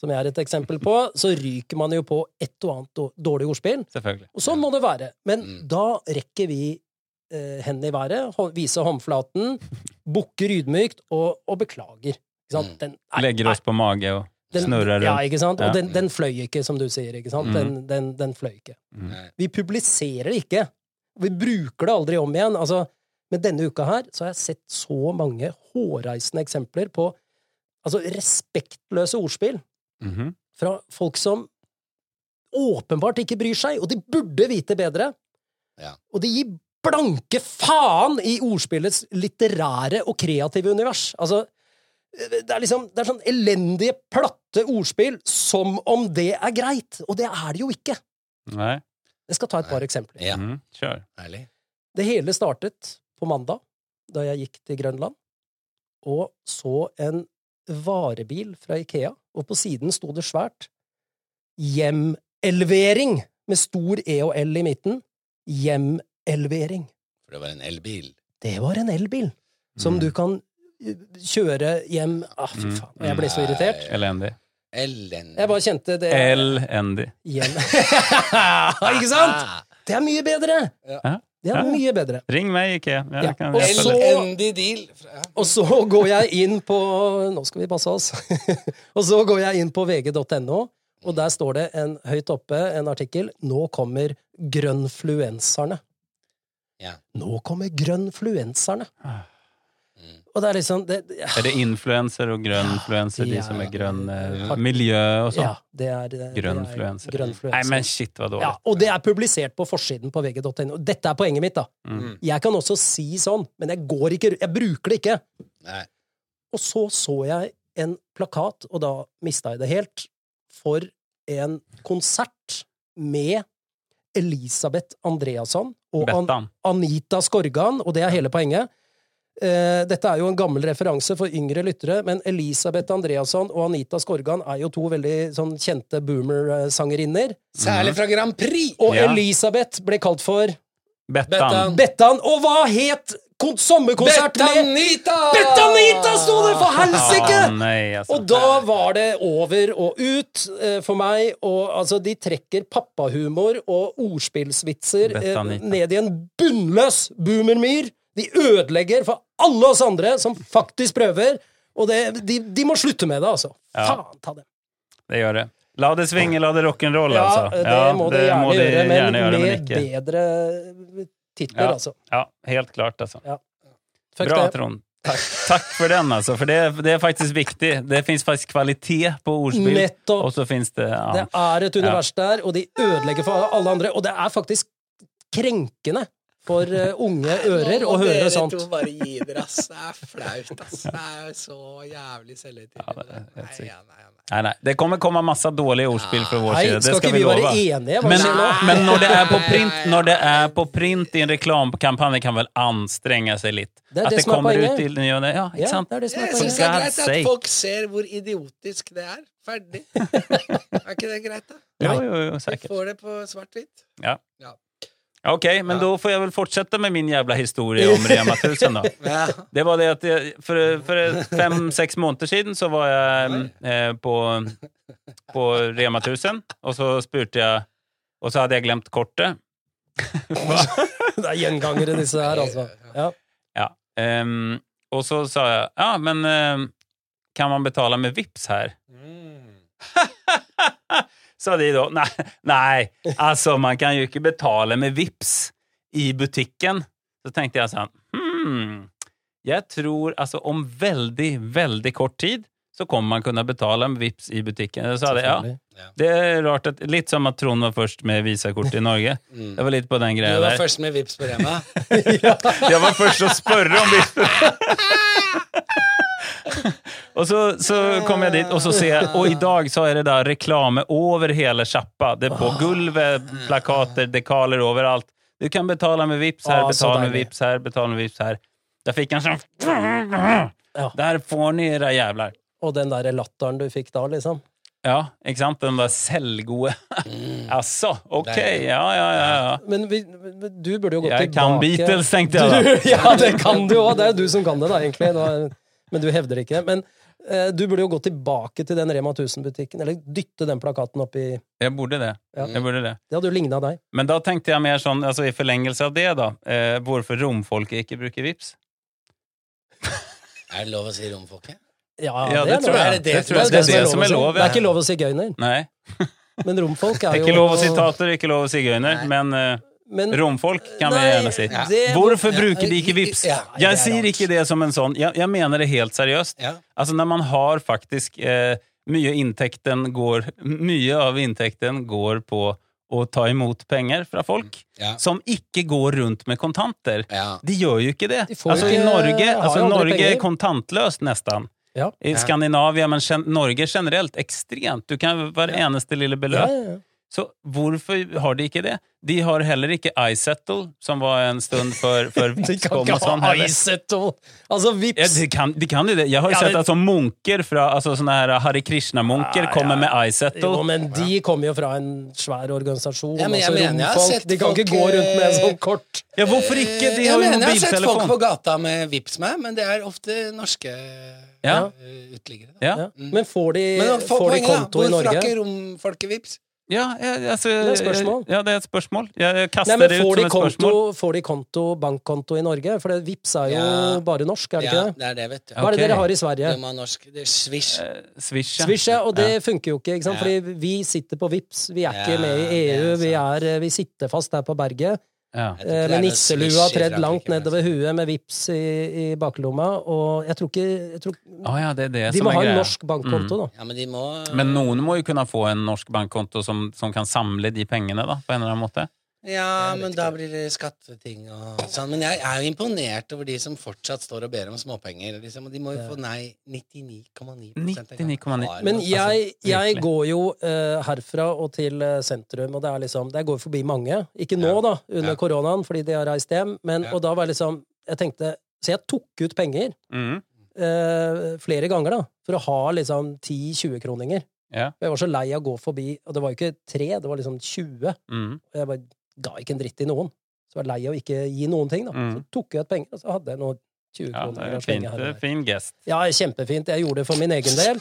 Speaker 1: som jeg er et eksempel på, så ryker man jo på et og annet då- dårlig ordspill.
Speaker 3: Selvfølgelig.
Speaker 1: Og sånn må det være. Men
Speaker 2: Mm.
Speaker 1: da rekker vi eh, hendene i været, hå viser håndflaten, bukker ydmykt og, og beklager. Ikke sant?
Speaker 2: Mm.
Speaker 1: Den, nei,
Speaker 3: Legger oss på mage og
Speaker 1: den-
Speaker 3: snurrer
Speaker 1: Ja,
Speaker 3: rundt.
Speaker 1: ikke sant?
Speaker 3: Ja.
Speaker 1: Og den, den fløy ikke, som du sier. Ikke sant? Den,
Speaker 3: Mm.
Speaker 1: den, den fløy ikke.
Speaker 3: Mm.
Speaker 2: Nei.
Speaker 1: Vi publiserer det ikke. Vi bruker det aldri om igjen. Altså, men denne uka her så har jeg sett så mange hårreisende eksempler på altså, respektløse ordspill
Speaker 3: Mhm.
Speaker 1: fra folk som åpenbart ikke bryr seg, og de burde vite bedre.
Speaker 2: Ja.
Speaker 1: Og de gir blanke faen i ordspillets litterære og kreative univers. Altså, det er liksom det er sånn elendige, platte ordspill som om det er greit. Og det er det jo ikke.
Speaker 3: Nei.
Speaker 1: Jeg skal ta et par eksempler.
Speaker 2: Ja,
Speaker 3: Mm. Kjør.
Speaker 2: ærlig.
Speaker 1: Det hele startet på mandag, da jeg gikk til Grønland, og så en varebil fra Ikea, og på siden sto det svært Hjemelvering, med stor E og L i midten. Hjemelvering.
Speaker 2: For det var en elbil.
Speaker 1: Det var en elbil som
Speaker 3: Mm.
Speaker 1: du kan eh, kjøre hjem ah, Fy
Speaker 3: Mm.
Speaker 1: faen, jeg ble så irritert.
Speaker 3: Elendig.
Speaker 2: Ellen.
Speaker 1: Jeg bare kjente det
Speaker 3: Elendig.
Speaker 1: hjem. Ikke sant?
Speaker 2: Ah,
Speaker 1: Det er mye bedre!
Speaker 3: Ja.
Speaker 1: Det er
Speaker 3: Ja.
Speaker 1: mye bedre.
Speaker 3: Ring meg, ikke. Ja,
Speaker 1: Ja.
Speaker 3: jeg kan
Speaker 1: Og
Speaker 3: hjelpe
Speaker 1: så-
Speaker 3: deg.
Speaker 2: Elendig deal. Ja.
Speaker 1: Og så går jeg inn på Nå skal vi passe oss. og så går jeg inn på vg.no, og der står det en, høyt oppe en artikkel 'Nå kommer grønnfluenserne'.
Speaker 2: Ja.
Speaker 1: Nå kommer grønnfluenserne!
Speaker 2: Mm.
Speaker 1: Og det er liksom det, det- ja,
Speaker 3: Er det influenser og grønnfluenser, de
Speaker 1: Ja.
Speaker 3: som er grønn eh,
Speaker 1: Ja.
Speaker 3: miljø og sånn?
Speaker 1: ja, det er det er-
Speaker 3: Grønnfluenser.
Speaker 1: grønnfluenser.
Speaker 3: Nei, men shit, hva dårlig.
Speaker 1: ja, og det er publisert på forsiden på vg.no. Dette er poenget mitt, da.
Speaker 3: Mm.
Speaker 1: Jeg kan også si sånn, men jeg går ikke Jeg bruker det ikke.
Speaker 2: Nei.
Speaker 1: Og så så jeg en plakat, og da mista jeg det helt, for en konsert med Elisabeth Andreasson og An
Speaker 3: Bettan.
Speaker 1: Anita Skorgan, og det er hele poenget. Eh, dette er jo en gammel referanse for yngre lyttere, men Elisabeth Andreasson og Anita Skorgan er jo to veldig sånn, kjente boomer-sangerinner.
Speaker 2: Særlig fra Grand Prix!
Speaker 1: Og
Speaker 3: Ja.
Speaker 1: Elisabeth ble kalt for
Speaker 3: Bettan.
Speaker 2: Bettan.
Speaker 1: Bettan, og hva het kon sommerkonsert med
Speaker 2: Betanita!
Speaker 1: Betanita sto det, for helsike!
Speaker 3: Å, nei, altså.
Speaker 1: Og da var det over og ut eh, for meg, og altså, de trekker pappahumor og ordspillsvitser eh,
Speaker 3: Bettanita.
Speaker 1: ned i en bunnløs boomermyr. De ødelegger for alle oss andre som faktisk prøver, og det, de, de må slutte med det, altså.
Speaker 3: Ja.
Speaker 1: Faen ta det.
Speaker 3: Det gjør det. La det svinge, la det rock'n'roll,
Speaker 1: Ja,
Speaker 3: altså.
Speaker 1: det må det gjerne
Speaker 3: må det
Speaker 1: gjøre, men
Speaker 3: gjerne gjøre, men
Speaker 1: med
Speaker 3: ikke.
Speaker 1: bedre titler,
Speaker 3: Ja.
Speaker 1: altså.
Speaker 3: Ja, helt klart, altså.
Speaker 1: Fuck
Speaker 3: Bra,
Speaker 1: det.
Speaker 3: Trond. Takk. Takk for den, altså. For det, det er faktisk viktig. Det fins faktisk kvalitet på ordspill,
Speaker 1: Nettopp.
Speaker 3: og så fins det ja.
Speaker 1: Det er et univers der, og de ødelegger for alle andre. Og det er faktisk krenkende for eh, unge ører å høre sånt.
Speaker 2: Dere to bare gi dere, ass. Det er flaut, ass. Det er så jævlig selvhøytidelig.
Speaker 3: helt
Speaker 2: Nei,
Speaker 3: sykt.
Speaker 2: ja, nei, ja, nei.
Speaker 3: Nei, nei. Det kommer komme masse dårlige ordspill fra vår
Speaker 1: Nei,
Speaker 3: side. Det
Speaker 1: skal
Speaker 3: skal
Speaker 1: ikke
Speaker 3: vi
Speaker 1: vi være
Speaker 3: love.
Speaker 1: enige? altså? Hva
Speaker 3: Men,
Speaker 1: skjer nå?
Speaker 3: men når, det er på print,
Speaker 2: Nei.
Speaker 3: når det er på print i en reklamekampanje, kan vel anstrenge seg litt?
Speaker 1: Det er
Speaker 3: At
Speaker 1: det
Speaker 3: det
Speaker 1: som er
Speaker 3: kommer
Speaker 1: poenget.
Speaker 3: ut til Ja, ikke
Speaker 1: Ja,
Speaker 3: sant?
Speaker 1: det er det som er
Speaker 2: Jeg
Speaker 1: poenget.
Speaker 2: syns det er
Speaker 3: For
Speaker 2: greit
Speaker 3: God's
Speaker 2: at folk ser hvor idiotisk det er. Ferdig. Er ikke det greit, da?
Speaker 3: Jo, jo, jo,
Speaker 2: Vi
Speaker 3: säkert.
Speaker 2: får det på svart-hvitt.
Speaker 3: Ja.
Speaker 2: Ja.
Speaker 3: Okej, men
Speaker 2: Ja.
Speaker 3: då får jag väl fortsätta med min jävla historia om Rema 1000 då.
Speaker 2: Ja.
Speaker 3: Det var det att jag, för, för fem, sex månader sedan så var jag eh, på, på Rema 1000 och så spurte jag och så hade jag glömt kortet.
Speaker 1: Det er gjengangere, disse her, altså. Ja.
Speaker 3: Ja. Ehm, och så sa jag, ja men ehm, kan man betala med Vips här?
Speaker 2: Mm.
Speaker 3: Sa de då, nej, nej, alltså altså, man kan ju inte betala med Vips i butiken. Så tänkte jag så här, hmm, jag tror alltså om väldigt, väldigt kort tid så kommer man kunna betala med Vips i butiken. Jag sa det, ja, det är rart att, lite som att Trond var först med Visakort i Norge. Jag var lite på den
Speaker 2: Du
Speaker 3: grejen
Speaker 2: var
Speaker 3: där.
Speaker 2: først med Vips på Rema.
Speaker 3: Jag var först att spörra om Vips. Och så, så kom jag dit och så ser jag, och idag så är det där reklam över hela Chappa. Det är på golvet, plakater, dekaler överallt. Du kan betala med Vips här,
Speaker 1: Ah, så
Speaker 3: betala med
Speaker 1: deilig.
Speaker 3: Vips här, betala med Vips här. Jag fick en sån...
Speaker 1: Ja.
Speaker 3: sånn- Der får ni era jävlar.
Speaker 1: Og den derre latteren du fikk da, liksom.
Speaker 3: Ja, ikke sant? Den der selvgode
Speaker 1: Mm.
Speaker 3: Jaså, ok.
Speaker 2: Deilig.
Speaker 3: Ja, ja, ja. ja.
Speaker 1: Men vi, men du burde jo gått
Speaker 3: Jeg
Speaker 1: tilbake
Speaker 3: kan Beatles, tenkte jeg da.
Speaker 1: Du, ja, det kan du òg. Det er jo du som kan det, da, egentlig. Nå- men du hevder ikke det. Men eh, du burde jo gå tilbake til den Rema 1000-butikken, eller dytte den plakaten opp i
Speaker 3: Jeg borde det.
Speaker 1: Ja.
Speaker 3: Jeg borde det.
Speaker 1: Det hadde jo ligna deg.
Speaker 3: Men da tenkte jeg mer sånn, altså i forlengelse av det, da eh, Hvorfor romfolket ikke bruker vips?
Speaker 2: Er det lov å si romfolket?
Speaker 3: Ja, det
Speaker 1: er
Speaker 3: tror
Speaker 1: lov.
Speaker 2: Er
Speaker 3: jeg.
Speaker 2: det det
Speaker 3: Det
Speaker 2: som
Speaker 3: tror jeg
Speaker 2: er-
Speaker 3: det er det som er
Speaker 1: å si.
Speaker 3: lov.
Speaker 1: Det er
Speaker 3: Ja.
Speaker 1: ikke lov å si gøyner.
Speaker 3: Nei.
Speaker 1: Men romfolk
Speaker 3: Det
Speaker 1: er
Speaker 3: er
Speaker 1: jo
Speaker 3: ikke lov å sitater, ikke lov å sigøyner, men eh,
Speaker 1: Men
Speaker 3: romfolk kan vi
Speaker 1: Nei,
Speaker 3: gjerne si.
Speaker 1: ja.
Speaker 3: Hvorfor bruker de ikke vips?
Speaker 2: Ja, det
Speaker 3: Jeg
Speaker 2: er
Speaker 3: sier
Speaker 2: rart.
Speaker 3: ikke det som en sånn Jeg, jeg mener det helt seriøst.
Speaker 2: Ja.
Speaker 3: Altså når man har faktisk eh, mye inntekten går Mye av inntekten går på å ta imot penger fra folk
Speaker 2: Ja.
Speaker 3: som ikke går rundt med kontanter.
Speaker 2: Ja.
Speaker 3: De gjør jo ikke det.
Speaker 1: De får
Speaker 3: Altså
Speaker 1: ikke-
Speaker 3: I Norge,
Speaker 1: har
Speaker 3: altså,
Speaker 1: aldri
Speaker 3: Norge er
Speaker 1: penger.
Speaker 3: kontantløst nesten.
Speaker 1: Ja.
Speaker 3: I Skandinavia, men gen Norge generelt ekstremt. Du kan hver eneste lille beløp.
Speaker 1: ja, ja, ja.
Speaker 3: Så hvorfor har de ikke det? De har heller ikke iSettle, som var en stund for, for
Speaker 1: De
Speaker 3: Vipps
Speaker 1: kan
Speaker 3: kom og
Speaker 1: ikke
Speaker 3: sånn.
Speaker 1: ha
Speaker 3: heller.
Speaker 1: isetto! Altså,
Speaker 3: Ja,
Speaker 1: vips!
Speaker 3: de, kan, de kan jo det. Jeg har jo
Speaker 1: Ja,
Speaker 3: sett
Speaker 1: men-
Speaker 3: at sånn munker fra altså sånne her Hare Krishna-munker kommer med
Speaker 1: Jo,
Speaker 3: iSettle.
Speaker 1: men de kommer jo fra en svær organisasjon.
Speaker 2: Ja, men jeg
Speaker 1: altså,
Speaker 2: mener, jeg har
Speaker 1: romfolk.
Speaker 2: sett
Speaker 1: De kan ikke
Speaker 2: folk,
Speaker 1: gå rundt med en
Speaker 2: eh,
Speaker 1: sånn kort.
Speaker 3: Ja, hvorfor ikke? De
Speaker 2: jeg
Speaker 3: har jo
Speaker 2: mener jeg har sett folk
Speaker 3: mobiltelefon.
Speaker 2: på gata med vips meg, men det er ofte norske
Speaker 3: Ja.
Speaker 2: eh, uteliggere. da.
Speaker 3: Ja,
Speaker 1: Ja. Men får de,
Speaker 2: Men få
Speaker 1: Eh, får de
Speaker 2: poenget, da.
Speaker 1: konto i
Speaker 2: Hvorfor har
Speaker 1: Norge?
Speaker 2: ikke romfolket vips?
Speaker 3: ja, ja altså,
Speaker 1: er et spørsmål.
Speaker 3: Ja, det er et spørsmål. Jeg, jeg
Speaker 1: Nei,
Speaker 3: kaster
Speaker 1: men
Speaker 3: det ut
Speaker 1: får
Speaker 3: som
Speaker 1: de,
Speaker 3: et
Speaker 1: konto,
Speaker 3: spørsmål.
Speaker 1: får de konto, bankkonto i Norge? For det, Vips er jo
Speaker 2: Ja.
Speaker 1: bare norsk, er det
Speaker 2: Ja,
Speaker 1: ikke det?
Speaker 2: det er det, vet du.
Speaker 1: Hva er det
Speaker 3: Ok.
Speaker 1: dere har i Sverige?
Speaker 2: Du må ha norsk. Det er swish.
Speaker 3: Eh, Swish, ja.
Speaker 1: Swish, ja, og det funker jo ikke, ikke sant?
Speaker 2: Ja.
Speaker 1: Fordi vi sitter på Vips, vi er ikke
Speaker 2: Ja,
Speaker 1: med i
Speaker 2: det er
Speaker 1: EU, vi,
Speaker 2: sant.
Speaker 1: er, eh, vi sitter fast her på berget,
Speaker 3: Ja.
Speaker 2: Jeg
Speaker 1: eh,
Speaker 2: tror ikke det er
Speaker 1: med
Speaker 2: noe
Speaker 1: nisselua
Speaker 2: swish i
Speaker 1: tredd
Speaker 2: Frankrike,
Speaker 1: langt
Speaker 2: men-
Speaker 1: nedover huet med Vips i, i baklomma, og jeg tror ikke jeg tror,
Speaker 3: Å ja, det er det
Speaker 1: De
Speaker 2: sånn
Speaker 3: som
Speaker 1: må
Speaker 3: er
Speaker 1: ha en
Speaker 3: greia.
Speaker 1: norsk bankkonto, da.
Speaker 2: Ja, men de må
Speaker 3: Men noen må jo kunne få en norsk bankkonto som, som kan samle de pengene, da, på en eller annen måte.
Speaker 2: Ja, men da blir det skatteting og sånn. Men jeg er jo imponert over de som fortsatt står og ber om småpenger. Liksom, og de må jo få nei 99,9 av gangen.
Speaker 3: 99,9.
Speaker 2: Har
Speaker 1: Men
Speaker 2: man-
Speaker 1: jeg, jeg
Speaker 3: virkelig.
Speaker 1: går jo eh, herfra og til eh, sentrum, og det er liksom Jeg går forbi mange. Ikke nå, da, under
Speaker 2: Ja.
Speaker 1: koronaen, fordi de har reist hjem, men
Speaker 2: Ja.
Speaker 1: og da var jeg liksom Jeg tenkte Så jeg tok ut penger
Speaker 3: Mm.
Speaker 1: eh, flere ganger, da, for å ha liksom 10-20-kroninger.
Speaker 3: Ja.
Speaker 1: Jeg var så lei av å gå forbi, og det var jo ikke tre, det var liksom 20.
Speaker 3: Mm.
Speaker 1: Og jeg bare ga ikke en dritt i noen. Så jeg var lei av å ikke gi noen ting, da.
Speaker 3: Mm.
Speaker 1: Så tok jeg ut penger, og så hadde jeg noen 20
Speaker 3: Ja, det
Speaker 1: kroner.
Speaker 3: er
Speaker 1: å
Speaker 3: en
Speaker 1: slenge
Speaker 3: fint,
Speaker 1: her og
Speaker 3: det er
Speaker 1: der.
Speaker 3: en fin gest.
Speaker 1: Ja, kjempefint. Jeg gjorde det for min egen del.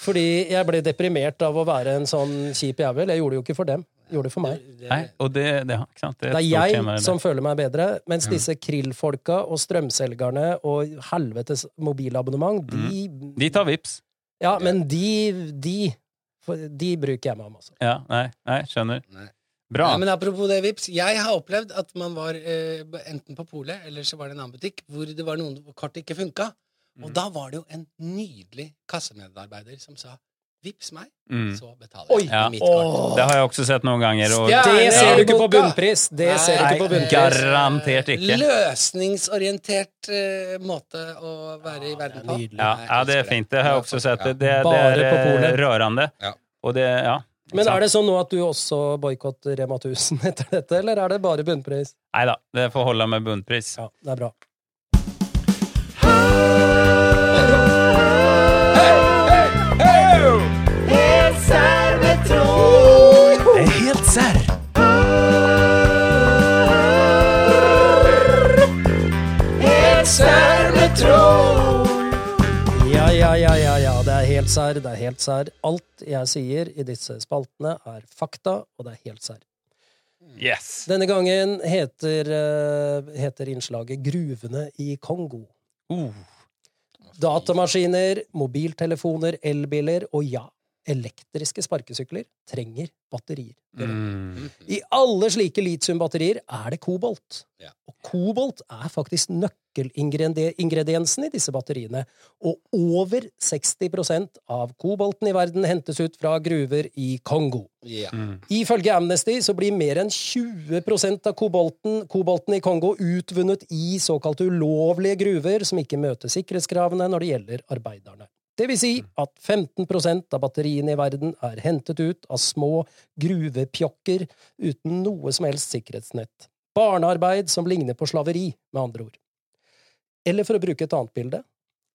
Speaker 1: Fordi jeg ble deprimert av å være en sånn kjip jævel. Jeg gjorde det jo ikke for dem. Jeg gjorde det for meg.
Speaker 2: Det-
Speaker 3: Nei, og det, det, ikke sant?
Speaker 1: Det
Speaker 3: det er
Speaker 1: er
Speaker 3: et stort tema. Mm.
Speaker 1: jeg
Speaker 3: det der.
Speaker 1: som føler meg bedre, mens disse krillfolka og strømselgerne og helvetes mobilabonnement, de
Speaker 3: De tar vips.
Speaker 1: Ja, men de De, for- de bruker jeg meg om, altså.
Speaker 3: Ja, nei, nei, skjønner.
Speaker 2: Nei.
Speaker 3: Bra.
Speaker 2: Nei, men apropos det, Vips. Jeg har opplevd at man var eh, enten på polet eller så var det en annen butikk hvor det var noen kort ikke funka.
Speaker 3: Mhm.
Speaker 2: Og da var det jo en nydelig kassemedarbeider som sa 'vips meg,
Speaker 3: Mm.
Speaker 2: så betaler jeg
Speaker 1: Oi.
Speaker 3: Ja.
Speaker 2: med mitt kort'.
Speaker 1: Åh.
Speaker 3: Det har jeg også sett noen ganger. Og,
Speaker 2: Ja,
Speaker 1: Det ser du ikke på
Speaker 2: boka.
Speaker 1: bunnpris! Det ser du ikke på
Speaker 3: Nei,
Speaker 1: bunnpris.
Speaker 3: garantert ikke.
Speaker 2: Løsningsorientert eh, måte å være i verden på.
Speaker 1: nydelig.
Speaker 3: ja, ja, det er fint. Det har jeg også sett. Det, det, det
Speaker 1: Bare
Speaker 3: er
Speaker 1: på
Speaker 3: eh,
Speaker 1: polet.
Speaker 3: rørende.
Speaker 2: Ja.
Speaker 3: Og det, ja. ikke
Speaker 1: Men
Speaker 3: sant?
Speaker 1: er det sånn nå at du også boikotter Rema 1000 etter dette, eller er det bare bunnpris?
Speaker 3: Nei da, det får holde med bunnpris.
Speaker 1: Ja, det er bra.
Speaker 3: Det er helt serr!
Speaker 1: Ja, ja, ja, ja, ja. Det er helt sær, det er helt sær. Alt jeg sier i disse spaltene, er fakta, og det er helt sær.
Speaker 3: Yes.
Speaker 1: Denne gangen heter, eh, heter innslaget Gruvene i Kongo.
Speaker 3: Uh,
Speaker 1: Datamaskiner, mobiltelefoner, elbiler og ja, elektriske sparkesykler trenger batterier.
Speaker 3: mm.
Speaker 2: Mhm.
Speaker 1: I alle slike litiumbatterier er det kobolt.
Speaker 2: Ja.
Speaker 1: Og kobolt er faktisk nøkkelingrediensen i disse batteriene. Og over 60 av kobolten i verden hentes ut fra gruver i Kongo.
Speaker 2: Ja.
Speaker 3: Mm.
Speaker 1: Ifølge Amnesty så blir mer enn 20 av kobolten, kobolten i Kongo utvunnet i såkalte ulovlige gruver som ikke møter sikkerhetskravene når det gjelder arbeiderne. Det vil si at 15 av batteriene i verden er hentet ut av små gruvepjokker uten noe som helst sikkerhetsnett. Barnearbeid som ligner på slaveri, med andre ord. Eller for å bruke et annet bilde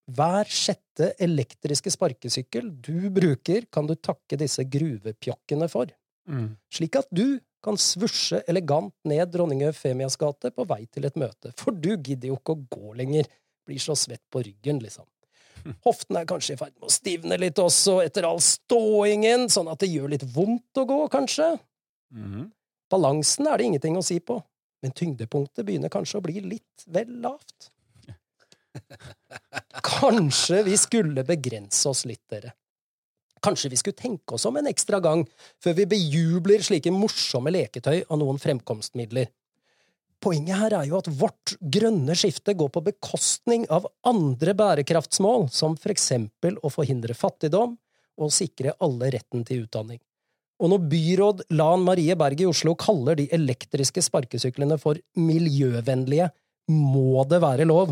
Speaker 1: Hver sjette elektriske sparkesykkel du bruker, kan du takke disse gruvepjokkene for,
Speaker 3: Mm.
Speaker 1: slik at du kan svusje elegant ned Dronning Eufemias gate på vei til et møte, for du gidder jo ikke å gå lenger, blir så svett på ryggen, liksom. Hoften er kanskje i ferd med å stivne litt også, etter all ståingen, sånn at det gjør litt vondt å gå, kanskje.
Speaker 3: Mhm.
Speaker 1: Balansen er det ingenting å si på, men tyngdepunktet begynner kanskje å bli litt vel lavt. Kanskje vi skulle begrense oss litt, dere. Kanskje vi skulle tenke oss om en ekstra gang før vi bejubler slike morsomme leketøy av noen fremkomstmidler. Poenget her er jo at vårt grønne skifte går på bekostning av andre bærekraftsmål, som for eksempel å forhindre fattigdom og sikre alle retten til utdanning. Og når byråd Lan Marie Berg i Oslo kaller de elektriske sparkesyklene for miljøvennlige, må det være lov.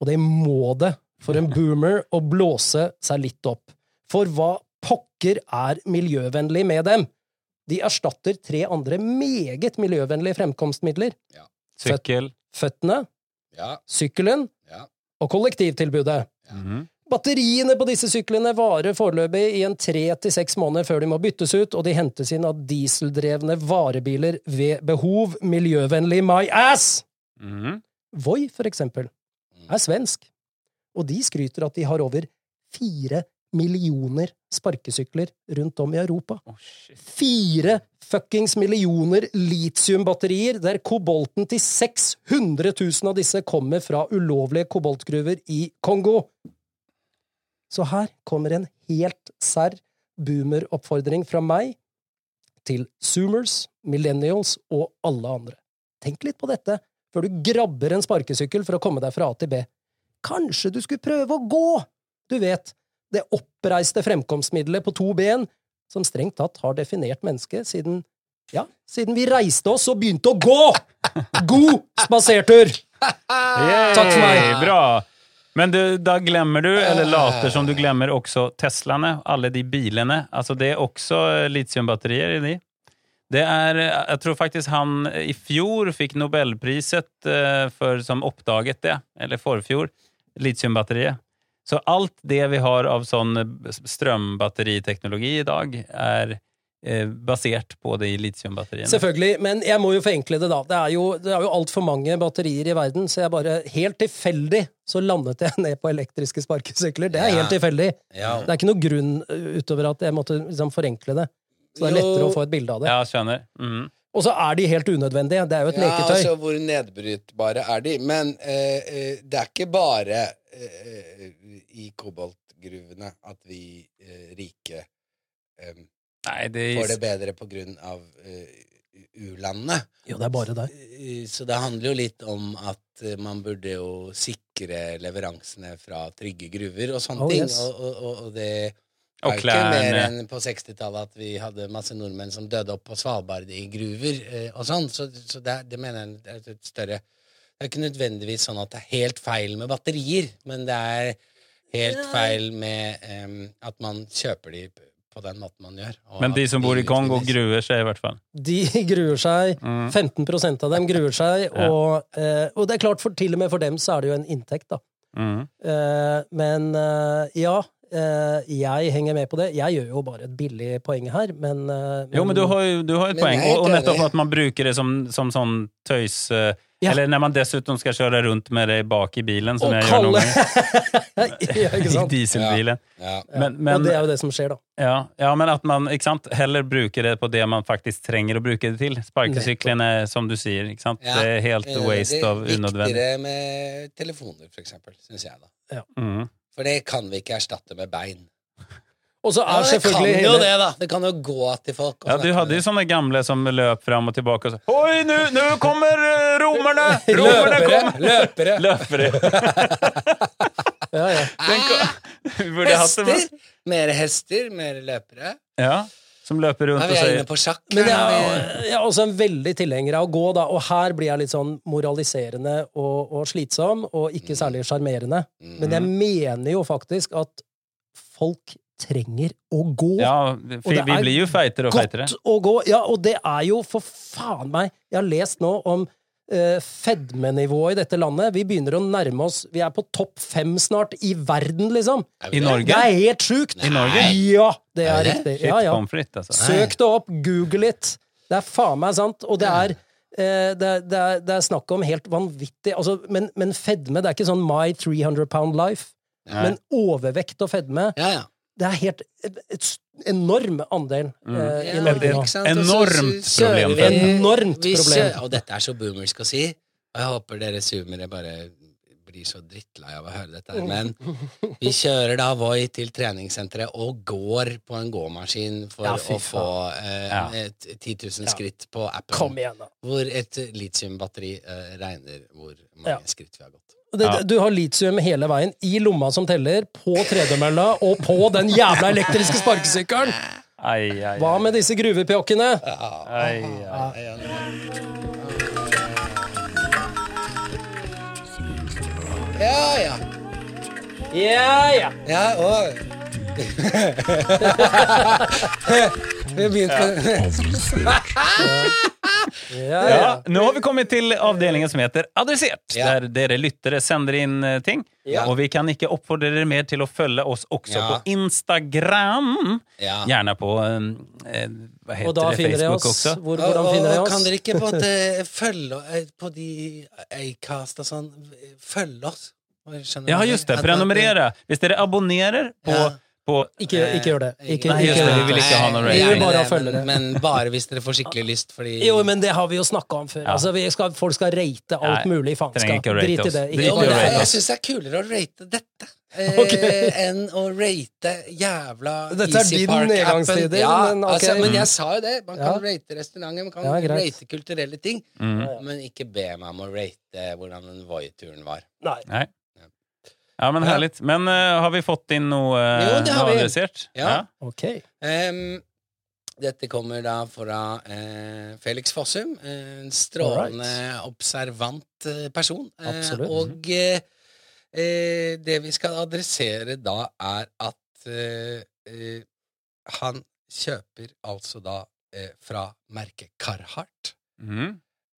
Speaker 1: Og det må det for en boomer å blåse seg litt opp. For hva pokker er miljøvennlig med dem? De erstatter tre andre meget miljøvennlige fremkomstmidler.
Speaker 3: Sykkel.
Speaker 1: Føttene,
Speaker 2: Ja.
Speaker 1: sykkelen
Speaker 2: Ja.
Speaker 1: og kollektivtilbudet.
Speaker 3: Mhm.
Speaker 1: Batteriene på disse syklene varer foreløpig i en tre til seks måneder før de må byttes ut, og de hentes inn av dieseldrevne varebiler ved behov. Miljøvennlig my ass!
Speaker 3: Mhm.
Speaker 1: Voi, for eksempel, er svensk, og de skryter at de har over fire millioner sparkesykler rundt om i Europa.
Speaker 3: Å, shit.
Speaker 1: Fire fuckings millioner litiumbatterier, der kobolten til 600 000 av disse kommer fra ulovlige koboltgruver i Kongo. Så her kommer en helt serr boomeroppfordring fra meg til zoomers, millennials og alle andre. Tenk litt på dette før du grabber en sparkesykkel for å komme deg fra A til B. Kanskje du skulle prøve å gå? Du vet, det oppreiste fremkomstmiddelet på to ben som strengt tatt har definert mennesket siden ja, siden vi reiste oss og begynte å gå! God spasertur!
Speaker 3: Yay,
Speaker 1: Takk for meg.
Speaker 3: Bra! Men du, da glemmer du, eller later som du glemmer, også Teslaene, alle de bilene. Altså, det er også eh, litiumbatterier i de. Det er, eh, jeg tror faktisk han eh, i fjor fikk Nobelpriset eh, for, som oppdaget det, eller forfjor, litiumbatteriet. Så alt det vi har av sånn eh, strømbatteriteknologi i dag, er eh, basert på de litiumbatteriene.
Speaker 1: Selvfølgelig, men jeg må jo forenkle det, da. Det er jo, det er jo altfor mange batterier i verden, så jeg bare helt tilfeldig så landet jeg ned på elektriske sparkesykler. Det er
Speaker 2: Ja.
Speaker 1: helt tilfeldig.
Speaker 2: Ja.
Speaker 1: Det er ikke noe grunn ø, utover at jeg måtte liksom forenkle det. Så det er lettere
Speaker 2: Jo.
Speaker 1: å få et bilde av det.
Speaker 3: Ja, skjønner. Mm.
Speaker 1: Og så er de helt unødvendige. Det er jo et
Speaker 2: Ja,
Speaker 1: leketøy.
Speaker 2: altså hvor nedbrytbare er de? Men eh, eh, det er ikke bare eh, i koboltgruvene at vi eh, rike eh,
Speaker 3: Nei, det er
Speaker 2: får det bedre på grunn av eh, u-landene.
Speaker 1: Jo, det er bare der.
Speaker 2: Eh, Så det handler jo litt om at eh, man burde jo sikre leveransene fra trygge gruver og sånne
Speaker 1: Oh,
Speaker 2: ting.
Speaker 1: yes.
Speaker 2: Og, og, og, og det
Speaker 3: Og
Speaker 2: er jo ikke mer
Speaker 3: klærne.
Speaker 2: enn på 60-tallet at vi hadde masse nordmenn som døde opp på Svalbard i gruver eh, og sånn. Så, så det, er- det mener jeg er et- et større Det er ikke nødvendigvis sånn at det er helt feil med batterier, men det er helt feil med em, at man kjøper de p- på den måten man gjør. og
Speaker 3: Men de
Speaker 2: at
Speaker 3: som bor i Kongo
Speaker 2: utvinnes.
Speaker 3: gruer seg i hvert fall.
Speaker 1: De gruer seg. 15 av dem gruer seg.
Speaker 3: Ja.
Speaker 1: Og, eh, og det er klart, for, til og med for dem så er det jo en inntekt, da.
Speaker 3: Mm.
Speaker 1: Eh, men eh, ja, eh, jeg henger med på det. Jeg gjør jo bare et billig poeng her, men, eh,
Speaker 3: Jo, men du har jo du har et
Speaker 2: Men
Speaker 3: poeng.
Speaker 2: jeg er
Speaker 3: Og, og
Speaker 2: helt
Speaker 3: nettopp
Speaker 2: enig.
Speaker 3: at man bruker det som, som sånn tøys... eh,
Speaker 1: Ja.
Speaker 3: Eller når man dessuten skal kjøre rundt med det bak i bilen, som
Speaker 1: Og
Speaker 3: sånn jeg gjør noen
Speaker 1: kalle
Speaker 3: ganger.
Speaker 1: Ja, ikke
Speaker 3: I
Speaker 1: sant?
Speaker 3: dieselbilen.
Speaker 2: Ja.
Speaker 3: Men,
Speaker 1: og
Speaker 3: men,
Speaker 1: det er jo det som skjer, da.
Speaker 3: ja, ja, men at man ikke sant, heller bruker det på det man faktisk trenger å bruke det til. Sparkesykkelen er, som du sier, ikke sant?
Speaker 2: Ja.
Speaker 3: det er helt
Speaker 2: Eh,
Speaker 3: waste av
Speaker 2: Det
Speaker 3: unødvendig.
Speaker 2: er viktigere med telefoner, for eksempel, syns jeg, da.
Speaker 3: Mm.
Speaker 2: For det kan vi ikke erstatte med bein.
Speaker 1: Og så er
Speaker 2: Ja, det kan
Speaker 1: selvfølgelig
Speaker 2: jo
Speaker 1: hele
Speaker 2: det, da! Det kan jo gå til folk. og
Speaker 3: Ja,
Speaker 2: snakke
Speaker 3: du hadde
Speaker 2: med
Speaker 3: jo sånne gamle som løp fram og tilbake og sa Oi, nå nå kommer eh, romerne! Romerne
Speaker 2: Løpere!
Speaker 3: kommer!
Speaker 2: Løpere!
Speaker 3: Løpere!
Speaker 1: ja, ja.
Speaker 3: Den kom- Vi burde hatt det med.
Speaker 2: Hester! Mer hester, mer løpere.
Speaker 3: Ja, som løper rundt
Speaker 2: Ja,
Speaker 3: og
Speaker 2: vi er
Speaker 3: sier
Speaker 2: inne på sjakk.
Speaker 1: Men jeg
Speaker 2: her,
Speaker 1: er,
Speaker 2: vi-
Speaker 1: jeg er også altså en veldig tilhenger av å gå, da. Og her blir jeg litt sånn moraliserende og, og slitsom, og ikke særlig sjarmerende. Men jeg mener jo faktisk at folk trenger å gå.
Speaker 3: Ja, for
Speaker 1: det
Speaker 3: vi
Speaker 1: er
Speaker 3: blir jo feitere og feitere.
Speaker 1: Godt å gå. Ja, og det er jo for faen meg Jeg har lest nå om eh, fedmenivået i dette landet. Vi begynner å nærme oss Vi er på topp fem snart i verden, liksom!
Speaker 3: I Norge?
Speaker 1: Det er helt sjukt!
Speaker 3: I Norge?
Speaker 1: Ja, det
Speaker 2: Er
Speaker 1: er
Speaker 2: det?
Speaker 1: riktig.
Speaker 3: Shit,
Speaker 1: Ja, ja.
Speaker 3: pommes frites, altså.
Speaker 1: Søk det opp, google litt. Det er faen meg sant. Og det er, eh, det, er- det, er, det er snakk om helt vanvittig altså, men, men fedme, det er ikke sånn my 300 pound life.
Speaker 3: Nei.
Speaker 1: Men overvekt og fedme,
Speaker 2: Ja, ja.
Speaker 1: det er helt et, et s- enorm andel
Speaker 3: Mm.
Speaker 1: eh, i
Speaker 2: Ja,
Speaker 1: Norge nå.
Speaker 2: ikke sant? Og så
Speaker 3: Enormt
Speaker 2: sø- sører
Speaker 3: problem.
Speaker 2: vi-
Speaker 1: Enormt
Speaker 2: vi
Speaker 1: problem.
Speaker 2: sø- Og dette er så boomers skal si. Og jeg håper dere zoomere bare blir så drittlei av å høre dette her. Men vi kjører da Voi til treningssenteret og går på en gåmaskin for
Speaker 1: Ja, fy
Speaker 2: å få eh,
Speaker 3: Ja.
Speaker 2: et 10 000 skritt på appen.
Speaker 1: Kom igjen, da.
Speaker 2: Hvor et litiumbatteri eh, regner hvor
Speaker 1: Ja.
Speaker 2: mange skritt vi har gått.
Speaker 1: Det,
Speaker 3: Ja.
Speaker 1: Du har litium hele veien, i lomma som teller, på tredemølla og på den jævla elektriske sparkesykkelen!
Speaker 3: Ai, ai,
Speaker 1: Hva med disse gruvepjokkene?
Speaker 3: ai, ai.
Speaker 2: Ja, ja.
Speaker 1: Ja, ja.
Speaker 2: Ja, og Vi begynte på
Speaker 1: ja, ja.
Speaker 3: Ja, nå har vi kommit til avdelningen som heter Adressert,
Speaker 2: Ja.
Speaker 3: der dere lyttere sender inn eh, ting.
Speaker 2: Ja.
Speaker 3: Og vi kan ikke oppfordre dere mer til å følge oss også
Speaker 2: Ja.
Speaker 3: på Instagram.
Speaker 2: Ja.
Speaker 3: Gjerne på eh, eh, hva
Speaker 1: Og da
Speaker 3: heter det,
Speaker 1: finner de
Speaker 3: Facebook
Speaker 1: oss.
Speaker 3: også.
Speaker 1: Hvor,
Speaker 2: Og-
Speaker 1: hvordan
Speaker 2: og-
Speaker 1: finner de
Speaker 2: og
Speaker 1: oss?
Speaker 2: Kan dere ikke på en måte følge eh, på de Acast og sånn Følge oss? Skjønner
Speaker 3: Ja,
Speaker 2: du?
Speaker 3: just det.
Speaker 2: At- at-
Speaker 3: Prenumerere. Hvis dere abonnerer på,
Speaker 2: Ja.
Speaker 3: på
Speaker 1: Ikke, ikke gjør det. Ikke,
Speaker 3: Nei,
Speaker 1: ikke,
Speaker 3: just Eh,
Speaker 1: gjør
Speaker 3: det, vi vil
Speaker 1: det.
Speaker 3: ikke ha noe
Speaker 2: Nei,
Speaker 1: rating.
Speaker 2: vi vil
Speaker 1: Bare
Speaker 2: det,
Speaker 1: følge det.
Speaker 2: Eh, Men, men bare hvis dere får skikkelig lyst, fordi
Speaker 1: Jo, men det har vi jo snakka om før.
Speaker 3: Ja.
Speaker 1: Altså, vi skal, folk skal rate alt
Speaker 3: Nei,
Speaker 1: mulig
Speaker 3: trenger
Speaker 1: faenskap.
Speaker 3: ikke å rate
Speaker 1: Drit i
Speaker 3: oss.
Speaker 1: det.
Speaker 3: Drit i
Speaker 2: Jo,
Speaker 1: Ikke
Speaker 2: men
Speaker 3: å
Speaker 2: det,
Speaker 1: rate
Speaker 2: er-
Speaker 3: rate
Speaker 2: jeg
Speaker 1: oss.
Speaker 2: syns det er kulere å rate dette eh,
Speaker 1: Ok.
Speaker 2: enn å rate jævla
Speaker 1: Dette er
Speaker 2: Easy
Speaker 1: din
Speaker 2: Park-appen.
Speaker 1: nedgangstider,
Speaker 2: Ja,
Speaker 1: men ok.
Speaker 2: altså, men jeg sa jo det. Man kan
Speaker 1: Ja.
Speaker 2: rate restauranter, man kan
Speaker 1: Ja, greit.
Speaker 2: rate kulturelle ting.
Speaker 3: Mm.
Speaker 2: Men ikke be meg om å rate eh, hvordan den Voi-turen var.
Speaker 1: Nei.
Speaker 3: Nei. Ja, men
Speaker 2: Ja.
Speaker 3: herlig. Men eh, har vi fått inn noe, eh,
Speaker 2: Jo, det har
Speaker 3: noe
Speaker 2: vi.
Speaker 3: adressert?
Speaker 2: Ja.
Speaker 1: Ok.
Speaker 2: Em, dette kommer da fra eh, Felix Fossum. eh, En strålende, observant eh, person. Eh,
Speaker 1: Absolutt. Mhm.
Speaker 2: Og eh, eh, det vi skal adressere da, er at eh, eh, han kjøper altså da eh, fra merket Carhartt
Speaker 3: Mm.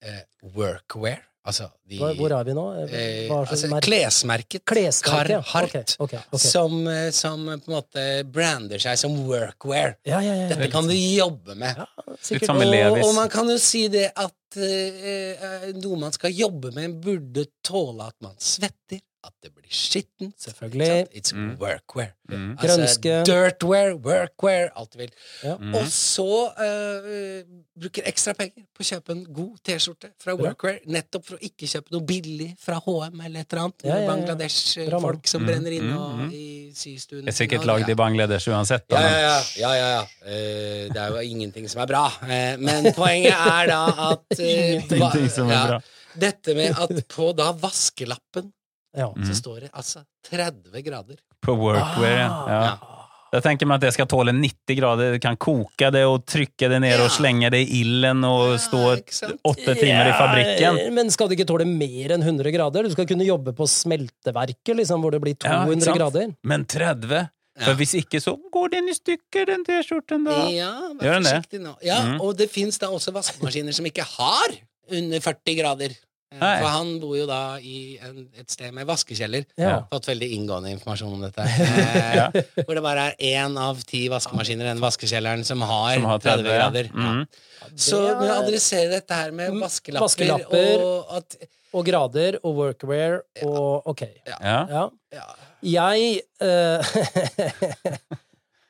Speaker 2: eh, Workwear. Altså de
Speaker 1: Hva- Hvor er vi nå?
Speaker 2: eh,
Speaker 1: Hva er
Speaker 2: altså,
Speaker 1: det mer-
Speaker 2: Klesmerket
Speaker 1: Klesmerke, ja.
Speaker 2: Carhartt.
Speaker 1: Ok, ok, ok.
Speaker 2: Som, eh, som på en måte brander seg som workwear.
Speaker 1: Ja, ja, ja.
Speaker 2: Dette kan du jobbe med.
Speaker 1: Ja,
Speaker 3: Litt sånn
Speaker 1: sikkert.
Speaker 3: som med
Speaker 2: Og,
Speaker 3: Levis.
Speaker 2: og man kan jo si det at eh, eh, noe man skal jobbe med, burde tåle at man svetter, at det blir skittent.
Speaker 1: Selvfølgelig.
Speaker 2: ikke sant? It's
Speaker 3: Mm.
Speaker 2: workwear.
Speaker 3: Mm.
Speaker 2: Altså,
Speaker 1: Grønske.
Speaker 2: Dirtwear, workwear, alt du vil.
Speaker 1: Ja.
Speaker 3: Mm.
Speaker 2: Og så eh, bruker ekstra penger på å kjøpe en god T-skjorte fra
Speaker 1: Bra.
Speaker 2: Workwear, nettopp for å ikke kjøpe noe billig fra HM eller et eller annet.
Speaker 1: Ja, ja, ja. Bra mann.
Speaker 2: Bangladesh-folk som
Speaker 3: Mm,
Speaker 2: brenner inne
Speaker 3: mm,
Speaker 2: og
Speaker 3: mm.
Speaker 2: i systuen.
Speaker 3: Det er sikkert lagd i Bangladesh uansett. Da,
Speaker 2: Ja,
Speaker 3: men-
Speaker 2: ja, ja. ja, ja, ja. Eh, det er jo ingenting som er bra. Eh, men poenget er da at eh,
Speaker 3: Ingenting som er
Speaker 2: ja,
Speaker 3: bra.
Speaker 2: Dette med at på da vaskelappen
Speaker 1: Ja.
Speaker 3: Mhm.
Speaker 2: så står det altså 30 grader.
Speaker 3: På workwear, ja.
Speaker 2: Ah,
Speaker 3: ja. Jeg tenker meg at det skal tåle 90 grader. Du kan koke det og trykke det ned
Speaker 2: Ja.
Speaker 3: og slenge det i ilden og
Speaker 2: Ja,
Speaker 3: stå
Speaker 2: ikke sant?
Speaker 3: åtte timer i fabrikken.
Speaker 1: Ja, men skal det ikke tåle mer enn 100 grader? Du skal kunne jobbe på smelteverket, liksom, hvor det blir
Speaker 3: Ja, ikke
Speaker 1: 200
Speaker 3: sant?
Speaker 1: grader.
Speaker 3: Men 30?
Speaker 2: Ja.
Speaker 3: For hvis ikke, så går den i stykker, den T-skjorten, da.
Speaker 2: Ja, vær
Speaker 3: Gjør den det? Mhm.
Speaker 2: forsiktig nå. Ja, Og det fins da også vaskemaskiner som ikke har under 40 grader. Eh,
Speaker 3: Nei.
Speaker 2: For han bor jo da i en, et sted med vaskekjeller.
Speaker 1: Ja.
Speaker 3: Ja.
Speaker 2: Fått veldig inngående informasjon om dette. Eh,
Speaker 3: Ja.
Speaker 2: Hvor det bare er én av ti vaskemaskiner i den vaskekjelleren som har,
Speaker 3: Som har
Speaker 2: 30
Speaker 3: ja.
Speaker 2: grader. Ja.
Speaker 3: Mm.
Speaker 2: Så
Speaker 1: Det er-
Speaker 2: men adressere dette her med
Speaker 1: Mm,
Speaker 2: vaskelapper,
Speaker 1: vaskelapper.
Speaker 2: og at
Speaker 1: Og grader og workwear og ok.
Speaker 3: Ja.
Speaker 1: Ja.
Speaker 2: ja,
Speaker 1: Jeg eh,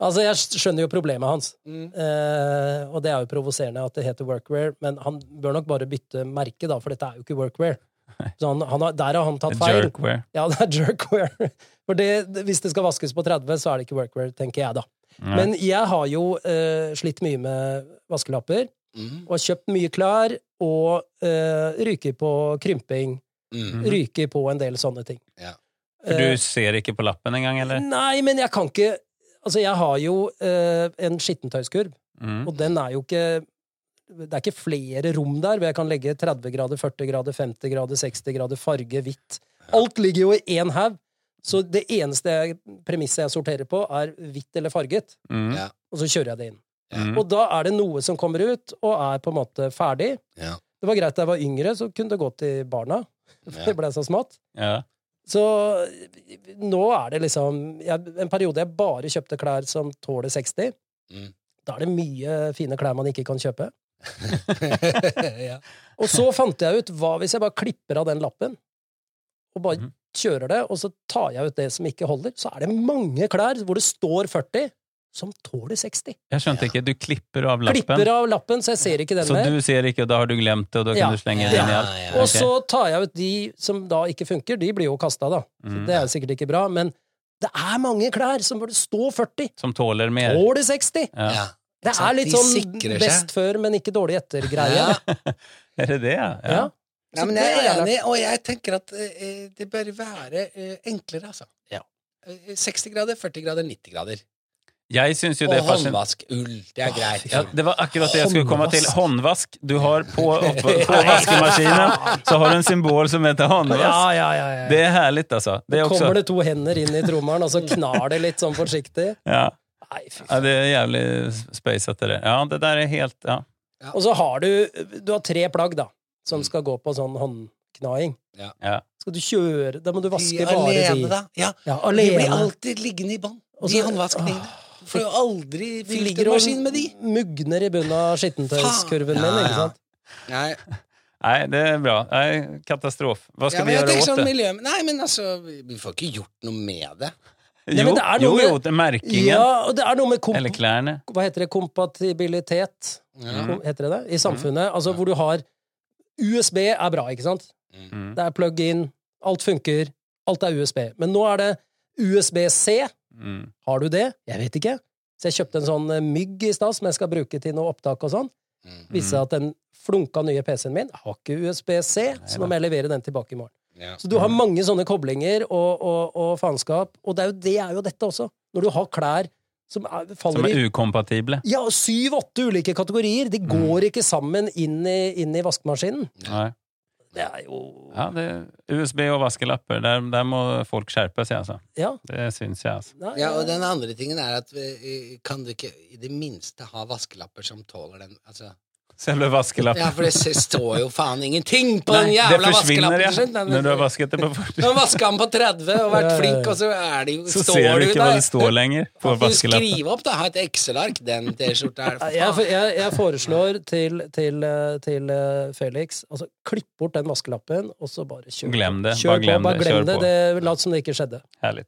Speaker 1: Altså, jeg skjønner jo problemet hans.
Speaker 3: Mm.
Speaker 1: Eh, og det er jo provoserende at det heter workwear, men han bør nok bare bytte merke, da, for dette er jo ikke workwear. Så han, han har, der har han tatt feil.
Speaker 3: Jerkwear.
Speaker 1: Ja, det er jerkwear. For det, det- hvis det skal vaskes på 30, så er det ikke workwear, tenker jeg da. Men jeg har jo eh, slitt mye med vaskelapper,
Speaker 2: mm,
Speaker 1: og kjøpt mye klær, og eh, ryker på krymping,
Speaker 2: mm,
Speaker 1: ryker på en del sånne ting. Eh,
Speaker 2: ja.
Speaker 3: Mhm. For Du ser ikke på lappen engang, eller?
Speaker 1: Nei, men jeg kan ikke Altså, jeg har jo eh, en skittentøyskurv,
Speaker 3: Mm.
Speaker 1: og den er jo ikke det er ikke flere rom der hvor jeg kan legge 30 grader, 40 grader, 50 grader, 60 grader, farge, hvitt. Alt ligger jo i én haug. Så det eneste jeg, premisset jeg sorterer på, er hvitt eller farget,
Speaker 3: Mm.
Speaker 2: Ja.
Speaker 1: og så kjører jeg det inn.
Speaker 3: Mm.
Speaker 1: Og da er det noe som kommer ut og er på en måte ferdig,
Speaker 2: Ja.
Speaker 1: Det var greit da jeg var yngre, så kunne det gå til barna.
Speaker 2: Ja.
Speaker 1: Det ble så smått.
Speaker 3: Ja.
Speaker 1: Så nå er det liksom jeg, En periode jeg bare kjøpte klær som tåler 60.
Speaker 2: Mm.
Speaker 1: Da er det mye fine klær man ikke kan kjøpe.
Speaker 3: Mm.
Speaker 2: ja.
Speaker 1: Og så fant jeg ut hva hvis jeg bare klipper av den lappen, og bare
Speaker 3: Mhm.
Speaker 1: kjører det, og så tar jeg ut det som ikke holder, så er det mange klær hvor det står 40, som tåler 60.
Speaker 3: Jeg skjønte ikke. Du klipper av lappen,
Speaker 1: Klipper av lappen, så jeg ser ikke den
Speaker 3: så
Speaker 1: mer.
Speaker 3: du ser ikke, og da har du glemt det, og da
Speaker 1: Ja.
Speaker 3: kan du slenge det
Speaker 2: Ja,
Speaker 3: inn i alt?
Speaker 2: ja.
Speaker 1: Og
Speaker 3: Ok.
Speaker 1: så tar jeg ut de som da ikke funker, de blir jo kasta, da. Så
Speaker 3: Mm.
Speaker 1: det er jo sikkert ikke bra, men det er mange klær som burde stå 40.
Speaker 3: Som tåler mer?
Speaker 1: Tåler 60!
Speaker 3: Ja.
Speaker 2: Ja.
Speaker 1: Det
Speaker 2: sant?
Speaker 1: er litt
Speaker 2: De
Speaker 1: sånn
Speaker 2: sikrer seg.
Speaker 1: best før, men ikke dårlig etter-greie.
Speaker 2: Ja.
Speaker 3: Er det det, ja?
Speaker 1: Ja.
Speaker 2: Nei,
Speaker 1: Så
Speaker 2: men jeg
Speaker 1: det
Speaker 2: er
Speaker 1: er
Speaker 2: enig, og jeg tenker at eh, det bør være eh, enklere, altså.
Speaker 1: Ja.
Speaker 2: Eh, 60 grader, 40 grader, 90 grader.
Speaker 3: Jeg syns jo
Speaker 2: Og
Speaker 3: det er fascin-
Speaker 2: håndvask, ull. Det er greit.
Speaker 3: Ja, det var akkurat det jeg skulle komme til.
Speaker 1: Håndvask.
Speaker 3: Håndvask. Du har på, opp, på vaskemaskinen så har du en symbol som heter håndvask.
Speaker 2: altså,
Speaker 1: ja, ja, ja, ja.
Speaker 3: Det er herlig, altså. Det er også,
Speaker 1: Kommer det to hender inn i trommelen, og så knar det litt sånn forsiktig?
Speaker 3: ja,
Speaker 1: Nei, fy
Speaker 3: ja,
Speaker 1: faen.
Speaker 3: det er jævlig spacet, det der. Ja, det der er helt ja.
Speaker 1: Og så har du Du har tre plagg, da, som skal gå på sånn håndknaing.
Speaker 3: ja.
Speaker 1: Skal du kjøre Da må du
Speaker 2: De
Speaker 1: vaske
Speaker 2: er
Speaker 1: bare
Speaker 2: alene,
Speaker 1: de.
Speaker 2: da. Ja,
Speaker 1: Ja,
Speaker 2: de blir
Speaker 1: alene.
Speaker 2: alltid liggende i bånn.
Speaker 1: Og
Speaker 2: De
Speaker 1: så-
Speaker 2: håndvaskningene. Du får jo aldri
Speaker 1: De ligger og
Speaker 2: filtermaskin med de.
Speaker 1: mugner i bunnen av skittentøyskurven min,
Speaker 2: Faen. Ja,
Speaker 1: ikke sant?
Speaker 2: Nei,
Speaker 3: Nei, det er bra. Nei, katastrof. Hva
Speaker 2: ja,
Speaker 3: skal
Speaker 2: men
Speaker 3: vi
Speaker 2: jeg
Speaker 3: gjøre
Speaker 2: tenker
Speaker 3: åt
Speaker 2: sånn
Speaker 3: det?
Speaker 2: miljø... Nei, men altså, vi vi får ikke gjort noe med det.
Speaker 1: Nei,
Speaker 3: Jo,
Speaker 1: men det er noe
Speaker 3: jo,
Speaker 1: med-
Speaker 3: jo, det er merkingen.
Speaker 1: Ja, og det er noe med komp
Speaker 3: Eller klærne.
Speaker 1: Hva heter det? Kompatibilitet?
Speaker 2: Ja.
Speaker 3: Mm.
Speaker 1: Kom- Heter det det? I samfunnet. Altså hvor du har USB er bra, ikke sant?
Speaker 3: Mm.
Speaker 1: Det er plug-in, alt funker, alt er USB. Men nå er det USB-C.
Speaker 3: Mm.
Speaker 1: Har du det? Jeg vet ikke. Så jeg kjøpte en sånn eh, mygg i stad som jeg skal bruke til noe opptak og sånn.
Speaker 2: Mm.
Speaker 1: Viste seg at den flunka nye PC-en min har ikke USB-C, så nå må jeg levere den tilbake i morgen.
Speaker 2: Ja.
Speaker 1: Så du har mange sånne koblinger og, og, og faenskap, og det er, jo, det er jo dette også. Når du har klær som er,
Speaker 3: Som
Speaker 1: faller
Speaker 3: er
Speaker 1: i
Speaker 3: ukompatible.
Speaker 1: ja, syv-åtte ulike kategorier,
Speaker 3: Mm.
Speaker 1: de går ikke sammen inn i, inn i vaskemaskinen.
Speaker 3: Nei.
Speaker 1: Det er jo
Speaker 3: Ja, det er USB og vaskelapper. Der, der må folk skjerpe seg, altså.
Speaker 1: Ja.
Speaker 3: Det syns jeg, altså.
Speaker 1: Nei,
Speaker 2: Ja, og den andre tingen er at eh, kan du ikke i det minste ha vaskelapper som tåler den altså,
Speaker 3: Selve vaskelappen.
Speaker 2: Ja, for det s- står jo faen ingenting på den
Speaker 3: Nei,
Speaker 2: jævla
Speaker 3: det
Speaker 2: vaskelappen
Speaker 3: forsvinner, ja.
Speaker 2: sin! Nei,
Speaker 3: Når du har
Speaker 2: men-
Speaker 3: vasket det på
Speaker 2: Du
Speaker 3: fortet,
Speaker 2: har vaska den på 30 og vært
Speaker 1: Ja, ja, ja.
Speaker 2: flink, og så er det jo,
Speaker 3: så
Speaker 2: står
Speaker 3: ser du
Speaker 2: det jo
Speaker 3: ikke hva
Speaker 2: der.
Speaker 3: det står lenger på
Speaker 2: Kan du
Speaker 3: vaskelappen.
Speaker 2: skrive opp, da. Ha et Excel-ark. Den T-skjorta er det
Speaker 1: Nei,
Speaker 2: for
Speaker 1: Jeg,
Speaker 2: faen.
Speaker 1: jeg, jeg foreslår til, til, eh, til eh, Felix altså, Klipp bort den vaskelappen, og så bare kjør.
Speaker 3: Glem det.
Speaker 1: Kjør
Speaker 3: Bare glem
Speaker 1: på, bare
Speaker 3: det.
Speaker 1: glem
Speaker 3: Kjør
Speaker 1: det.
Speaker 3: på.
Speaker 1: det Lat som det ikke skjedde.
Speaker 3: Herlig.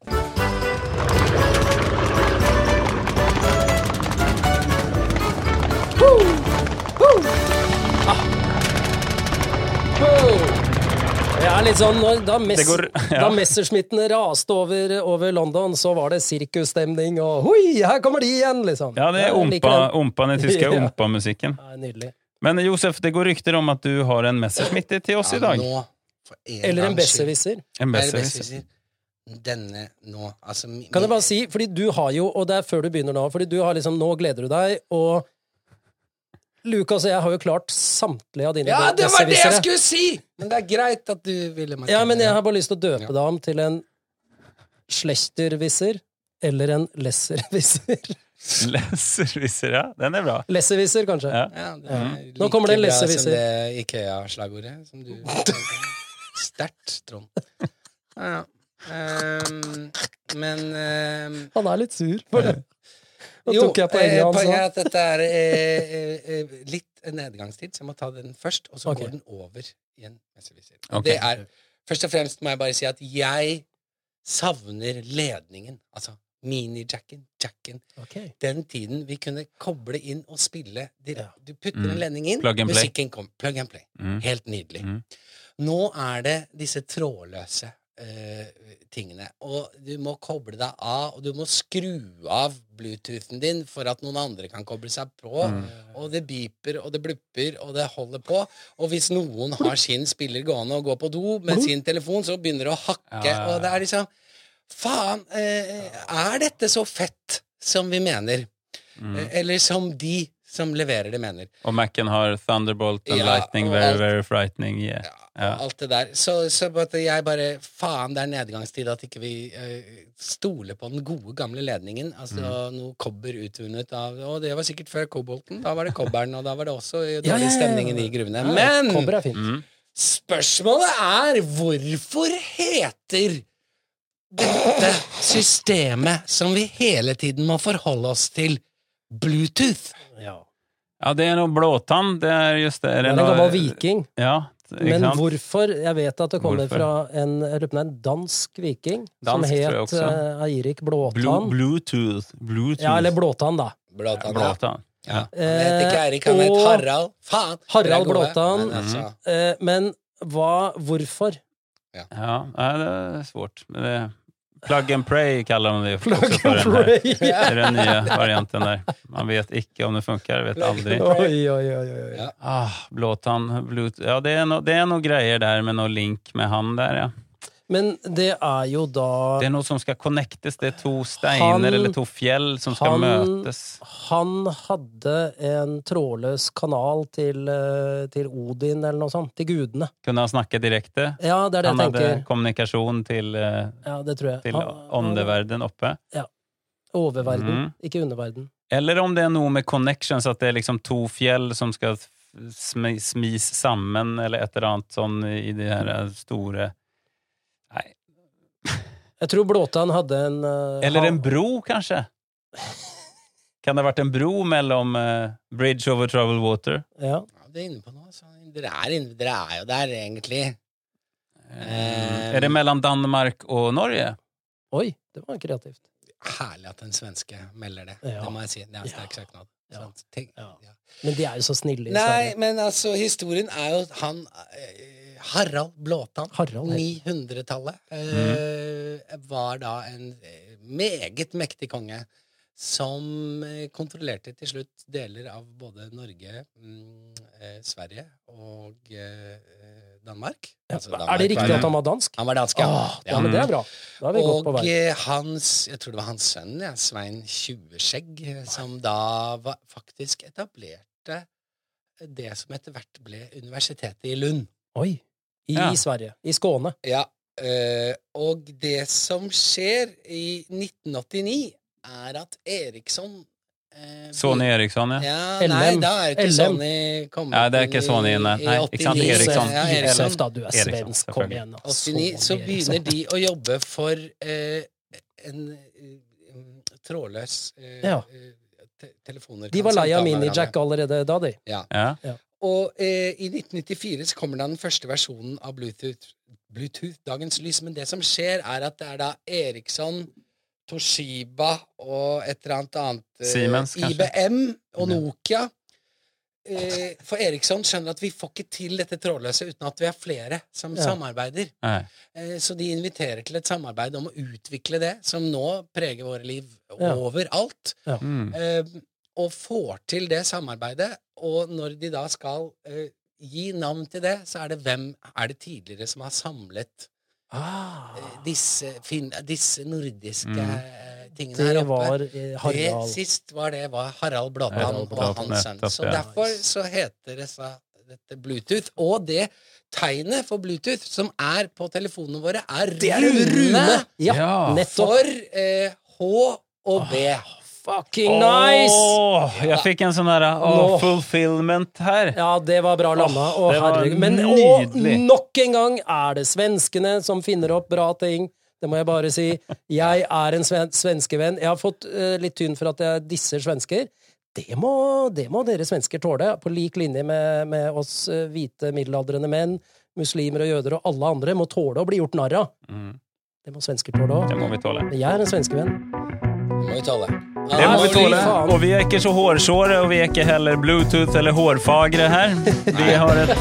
Speaker 1: Det er litt sånn, når, da, mess,
Speaker 3: Det går- ja.
Speaker 1: da Messerschmitten raste over, over London, så var det sirkusstemning og Hoi, her kommer de igjen! liksom.
Speaker 3: Ja, det er
Speaker 1: Jeg liker
Speaker 3: ompa,
Speaker 1: den.
Speaker 3: ompan i tyske
Speaker 1: Ja.
Speaker 3: ompa-musikken.
Speaker 1: Nei, nydelig.
Speaker 3: Men Josef, det går rykter om at du har en Messerschmitt til oss i dag.
Speaker 2: Ja, nå, for en
Speaker 1: Eller en
Speaker 2: gangs skyld.
Speaker 1: besserwisser.
Speaker 3: En
Speaker 2: Eller
Speaker 3: Messerschmitt.
Speaker 2: besserwisser. Denne nå, altså mi-
Speaker 1: Kan jeg bare si, fordi du har jo, og det er før du begynner nå, fordi du har liksom, nå gleder du deg, og Lukas og jeg har jo klart samtlige av dine
Speaker 2: Ja, det var det jeg
Speaker 1: besserwissere.
Speaker 2: skulle si! Men det er greit at du ville markere
Speaker 1: Ja, men jeg
Speaker 2: det.
Speaker 1: har bare lyst til å døpe
Speaker 2: Ja.
Speaker 1: deg om til en Schlechterwisser eller en Lesserwisser.
Speaker 3: Lesserwisser, ja. Den er bra.
Speaker 1: Lesserwisser, kanskje.
Speaker 3: Ja.
Speaker 2: Ja, det er like
Speaker 1: Nå kommer det en
Speaker 2: bra
Speaker 1: leseviser.
Speaker 2: Som det Ikea-slagordet som du Sterkt, Trond. Ja, ja. Ehm, men ehm,
Speaker 1: Han er litt sur for det. Nå
Speaker 2: Jo,
Speaker 1: tok jeg
Speaker 2: eh,
Speaker 1: poenget hans
Speaker 2: poenget er
Speaker 1: nå.
Speaker 2: at dette er eh, eh, eh, litt en nedgangstid, så jeg må ta den først, og så
Speaker 1: Ok.
Speaker 2: går den over i en leseviser.
Speaker 3: Ok.
Speaker 2: Det er Først og fremst må jeg bare si at jeg savner ledningen. Altså mini-jacken, jacken.
Speaker 1: Ok.
Speaker 2: den tiden vi kunne koble inn og spille direkte. Du putter
Speaker 3: Mm.
Speaker 2: en lending inn,
Speaker 3: Plug and play.
Speaker 2: musikken kom. Plug and play.
Speaker 3: Mm.
Speaker 2: Helt nydelig.
Speaker 3: Mm.
Speaker 2: Nå er det disse trådløse eh, tingene. Og du må koble deg av, og du må skru av bluetoothen din for at noen andre kan koble seg på. Og det biper, og det blupper, og det holder på. Og hvis noen har sin spiller gående og går på do med sin telefon, så begynner det å hakke.
Speaker 3: Ja, ja, ja.
Speaker 2: Og det er liksom Faen! Eh, er dette så fett som vi mener?
Speaker 3: Mm.
Speaker 2: Eh, Eller som de som leverer det, mener?
Speaker 3: Og Mac-en har Thunderbolt and
Speaker 2: Ja,
Speaker 3: Lightning,
Speaker 2: og
Speaker 3: very,
Speaker 2: alt.
Speaker 3: very frightening. Yeah. Ja.
Speaker 2: alt det der. Så, så på en måte jeg bare Faen, det er nedgangstid at ikke vi eh, stoler på den gode, gamle ledningen. Altså
Speaker 1: Mm.
Speaker 2: noe kobber utvunnet av Og det var sikkert før kobolten. Da var det kobberen, og da var det også dårlig
Speaker 1: ja, ja, ja.
Speaker 2: stemning i de gruvene.
Speaker 1: Kobber
Speaker 2: Men
Speaker 1: er fint.
Speaker 3: Mm.
Speaker 2: spørsmålet er hvorfor heter dette systemet som vi hele tiden må forholde oss til, Bluetooth?
Speaker 1: Ja.
Speaker 3: Ja, det er noe blåtann. Det er just det.
Speaker 1: Det er en gammel viking.
Speaker 3: Ja, eh, ikke
Speaker 1: Men
Speaker 3: sant?
Speaker 1: hvorfor? Jeg vet at det kommer
Speaker 3: Hvorfor?
Speaker 1: fra en, jeg lurer på om det er en dansk viking
Speaker 3: Dansk, tror
Speaker 1: som
Speaker 3: jeg
Speaker 1: het
Speaker 3: også.
Speaker 1: eh, Eirik Blåtann.
Speaker 3: Blue, Bluetooth. Bluetooth.
Speaker 1: Ja, eller Blåtann, da.
Speaker 2: Blåtann. ja.
Speaker 3: blåtann. Ja.
Speaker 2: Han het ikke
Speaker 1: Eh,
Speaker 2: Eirik, han het
Speaker 1: og-
Speaker 2: Harald. Faen! dere er
Speaker 1: Harald
Speaker 2: gode.
Speaker 1: Blåtann.
Speaker 2: Men altså,
Speaker 1: Eh, men hva Hvorfor?
Speaker 3: Ja, nei, det er svårt. Men det, plug and pray kaller de det også
Speaker 1: Plug
Speaker 3: for
Speaker 1: and
Speaker 3: den der.
Speaker 1: play!
Speaker 3: Det er den nye varianten der. Man vet ikke om det funker, vet aldri.
Speaker 1: Oi, oi, oi. oi. oi.
Speaker 2: Ja.
Speaker 3: Ah, blåtann, Bluetooth Ja, det er no- det er noe greier der med noe link med han der, ja.
Speaker 1: Men det er jo da
Speaker 3: Det er noe som skal connectes. Det er to
Speaker 1: Han-
Speaker 3: steiner eller to fjell som skal
Speaker 1: han-
Speaker 3: møtes.
Speaker 1: Han hadde en trådløs kanal til, eh, til Odin, eller noe sånt. Til gudene.
Speaker 3: Kunne han snakke direkte?
Speaker 1: Ja, det er det
Speaker 3: Han
Speaker 1: jeg
Speaker 3: hadde
Speaker 1: tenker.
Speaker 3: kommunikasjon til, eh,
Speaker 1: Ja, det tror jeg.
Speaker 3: til
Speaker 1: Han-
Speaker 3: åndeverden oppe.
Speaker 1: Oververden,
Speaker 3: Mm.
Speaker 1: ikke underverden.
Speaker 3: Eller om det er noe med connections, at det er liksom to fjell som skal smi, smis sammen, eller et eller annet sånn i de her store Nei.
Speaker 1: Jeg tror Blåtann hadde en eh,
Speaker 3: Eller
Speaker 1: han-
Speaker 3: en bro, kanskje? Kan det ha vært en bro mellom eh, Bridge over Troubled Water?
Speaker 1: ja.
Speaker 2: Ja, det er inne på noe. Så dere, er inne, dere er jo der, egentlig.
Speaker 1: Eh,
Speaker 3: er det mellom Danmark og Norge?
Speaker 1: Oi, det var kreativt.
Speaker 2: Herlig at en svenske melder det.
Speaker 1: Ja.
Speaker 2: Det må jeg si. Det er en sterk søknad.
Speaker 1: Ja.
Speaker 2: Sant? Tenk-
Speaker 1: Ja.
Speaker 2: ja.
Speaker 1: Men de er jo så snille i
Speaker 2: Nei,
Speaker 1: Sverige.
Speaker 2: men altså, historien er jo at han eh, Harald Blåtann,
Speaker 1: Harald Mhm. heter han.
Speaker 2: 900-tallet, eh, var da en eh, meget mektig konge som eh, kontrollerte til slutt deler av både Norge, mm, eh, Sverige og eh, Danmark. Altså,
Speaker 1: er det
Speaker 2: Danmark var
Speaker 1: riktig
Speaker 2: jo-
Speaker 1: at han var dansk?
Speaker 2: Han var dansk, ja.
Speaker 1: Åh, ja,
Speaker 2: ja.
Speaker 1: men det er bra. Da er vi godt på
Speaker 2: Og
Speaker 1: vei.
Speaker 2: eh, hans, jeg tror det var hans sønn, ja, Svein Tjuveskjegg, eh, som da va- faktisk etablerte det som etter hvert ble universitetet i Lund.
Speaker 1: Oi. I
Speaker 3: Ja.
Speaker 1: Sverige. I Skåne.
Speaker 2: Ja, eh, og det som skjer i 1989, er at Eriksson eh,
Speaker 3: Sony
Speaker 2: blir-
Speaker 3: Eriksson, ja.
Speaker 2: Ja,
Speaker 1: LM.
Speaker 2: nei, da er ikke
Speaker 1: LM.
Speaker 2: Sony kommet
Speaker 3: Ja, det er ikke
Speaker 2: inn
Speaker 3: Sony,
Speaker 2: i-
Speaker 3: nei.
Speaker 2: i
Speaker 3: Nei, ikke sant,
Speaker 2: 89.
Speaker 3: Eriksson.
Speaker 2: Ja,
Speaker 3: Eriksson.
Speaker 1: Josef, da, du er
Speaker 3: Eriksson,
Speaker 1: svensk. Kom
Speaker 3: selvfølgelig.
Speaker 1: igjen. altså.
Speaker 2: 89
Speaker 1: Eriksson.
Speaker 2: så begynner de å jobbe for eh, en eh, trådløs eh,
Speaker 1: Ja.
Speaker 2: eh, te telefoner.
Speaker 1: De
Speaker 2: kan
Speaker 1: var lei av
Speaker 2: samtale med
Speaker 1: Minijack
Speaker 2: hverandre.
Speaker 1: allerede da, de.
Speaker 3: ja.
Speaker 2: Og eh, i 1994 så kommer da den første versjonen av Bluetooth, Bluetooth dagens lys. Men det som skjer, er at det er da Eriksson, Toshiba og et eller annet annet eh,
Speaker 3: Siemens, kanskje?
Speaker 2: IBM og
Speaker 3: Ja.
Speaker 2: Nokia. Eh, for Eriksson skjønner at vi får ikke til dette trådløse uten at vi er flere som
Speaker 1: Ja.
Speaker 2: samarbeider.
Speaker 3: Nei.
Speaker 2: Eh, Så de inviterer til et samarbeid om å utvikle det, som nå preger våre liv
Speaker 1: Ja.
Speaker 2: overalt.
Speaker 3: Mm.
Speaker 2: Eh, Og får til det samarbeidet. Og når de da skal eh, gi navn til det, så er det hvem er det tidligere som har samlet
Speaker 1: Ah,
Speaker 2: eh, disse, fin disse nordiske
Speaker 3: Mm.
Speaker 2: eh, tingene her
Speaker 1: det
Speaker 2: oppe?
Speaker 1: var eh,
Speaker 2: Det
Speaker 1: Harald.
Speaker 2: sist var det var Harald Blåtann
Speaker 1: Harald
Speaker 2: og
Speaker 3: Blåtann,
Speaker 2: hans sønn.
Speaker 3: nettopp,
Speaker 2: Så
Speaker 3: ja.
Speaker 2: derfor så heter det så, dette Bluetooth. Og det tegnet for Bluetooth som er på telefonene våre, er,
Speaker 1: Det er Rune! Ja,
Speaker 3: Ja.
Speaker 1: nettopp.
Speaker 2: for eh, H og B.
Speaker 1: Fucking nice!
Speaker 3: Åh, jeg fikk en sånn derre
Speaker 1: Nå.
Speaker 3: fulfillment her.
Speaker 1: Ja, det var bra landa.
Speaker 3: Åh,
Speaker 1: Å,
Speaker 3: det var
Speaker 1: herregud. Men og,
Speaker 3: nydelig.
Speaker 1: nok en gang er det svenskene som finner opp bra ting. Det må jeg bare si. Jeg er en sven svenskevenn. Jeg har fått eh, litt tynn for at jeg disser svensker. Det må, det må dere svensker tåle, på lik linje med, med oss eh, hvite middelaldrende menn, muslimer og jøder og alle andre må tåle å bli gjort narr av.
Speaker 3: Mm.
Speaker 1: Det må svensker tåle òg.
Speaker 3: Det må vi tåle.
Speaker 1: Men jeg er en svenskevenn.
Speaker 2: Må vi tåle. Ah,
Speaker 3: Det må vi
Speaker 1: fy
Speaker 3: tåle.
Speaker 1: faen.
Speaker 3: Og vi er ikke så hårsåre, og vi er ikke heller Bluetooth eller hårfagre her. Vi har et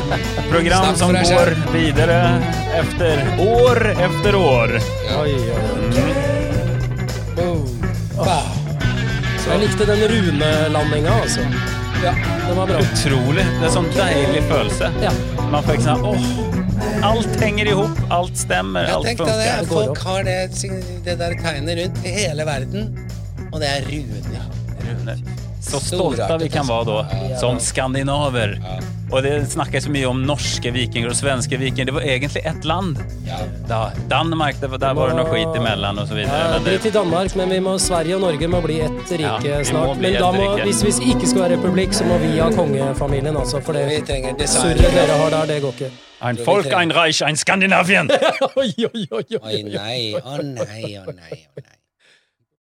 Speaker 3: program
Speaker 2: Snakk for
Speaker 3: som
Speaker 2: deg
Speaker 3: går videre efter år efter år.
Speaker 1: Oi, oi, oi.
Speaker 2: Bah.
Speaker 1: Jeg likte den runelandinga, altså.
Speaker 2: Ja.
Speaker 1: Den var bra.
Speaker 3: Utrolig. Det er sånn deilig følelse.
Speaker 1: Ja.
Speaker 3: Man får ikke sånn åh, alt henger i hop, alt stemmer,
Speaker 2: Jeg
Speaker 3: alt
Speaker 2: tenkte det.
Speaker 3: funker.
Speaker 1: går
Speaker 2: Folk
Speaker 1: opp.
Speaker 2: har det, sign- det der tegnet rundt i hele verden, og det er Rune.
Speaker 3: Rune. så stolta
Speaker 2: Storartet,
Speaker 3: vi kan vara då som skandinaver. Och det snackas mye om norske vikingar och svenska vikingar. Det var egentligen ett land.
Speaker 2: Ja.
Speaker 3: Da, Danmark, det var, där var det någon skit emellan och så vidare. Men
Speaker 1: Drit i
Speaker 3: det,
Speaker 1: Eh, Danmark, men vi må, Sverige og Norge må bli ett
Speaker 3: Ja,
Speaker 1: rike
Speaker 3: vi må
Speaker 1: snart.
Speaker 3: bli
Speaker 1: Men
Speaker 3: ett
Speaker 1: da må,
Speaker 3: rike.
Speaker 1: hvis vi ikke skal være republikk, så må vi ha kongefamilien, altså. For
Speaker 2: Vi
Speaker 1: det
Speaker 2: trenger
Speaker 1: surret
Speaker 2: design.
Speaker 1: dere har der, det går ikke.
Speaker 3: ein folk, ein Reich, ein Skandinavien!
Speaker 1: Oi, oi, oi, oi.
Speaker 2: Oi, nei, å nei, å nei, å nei.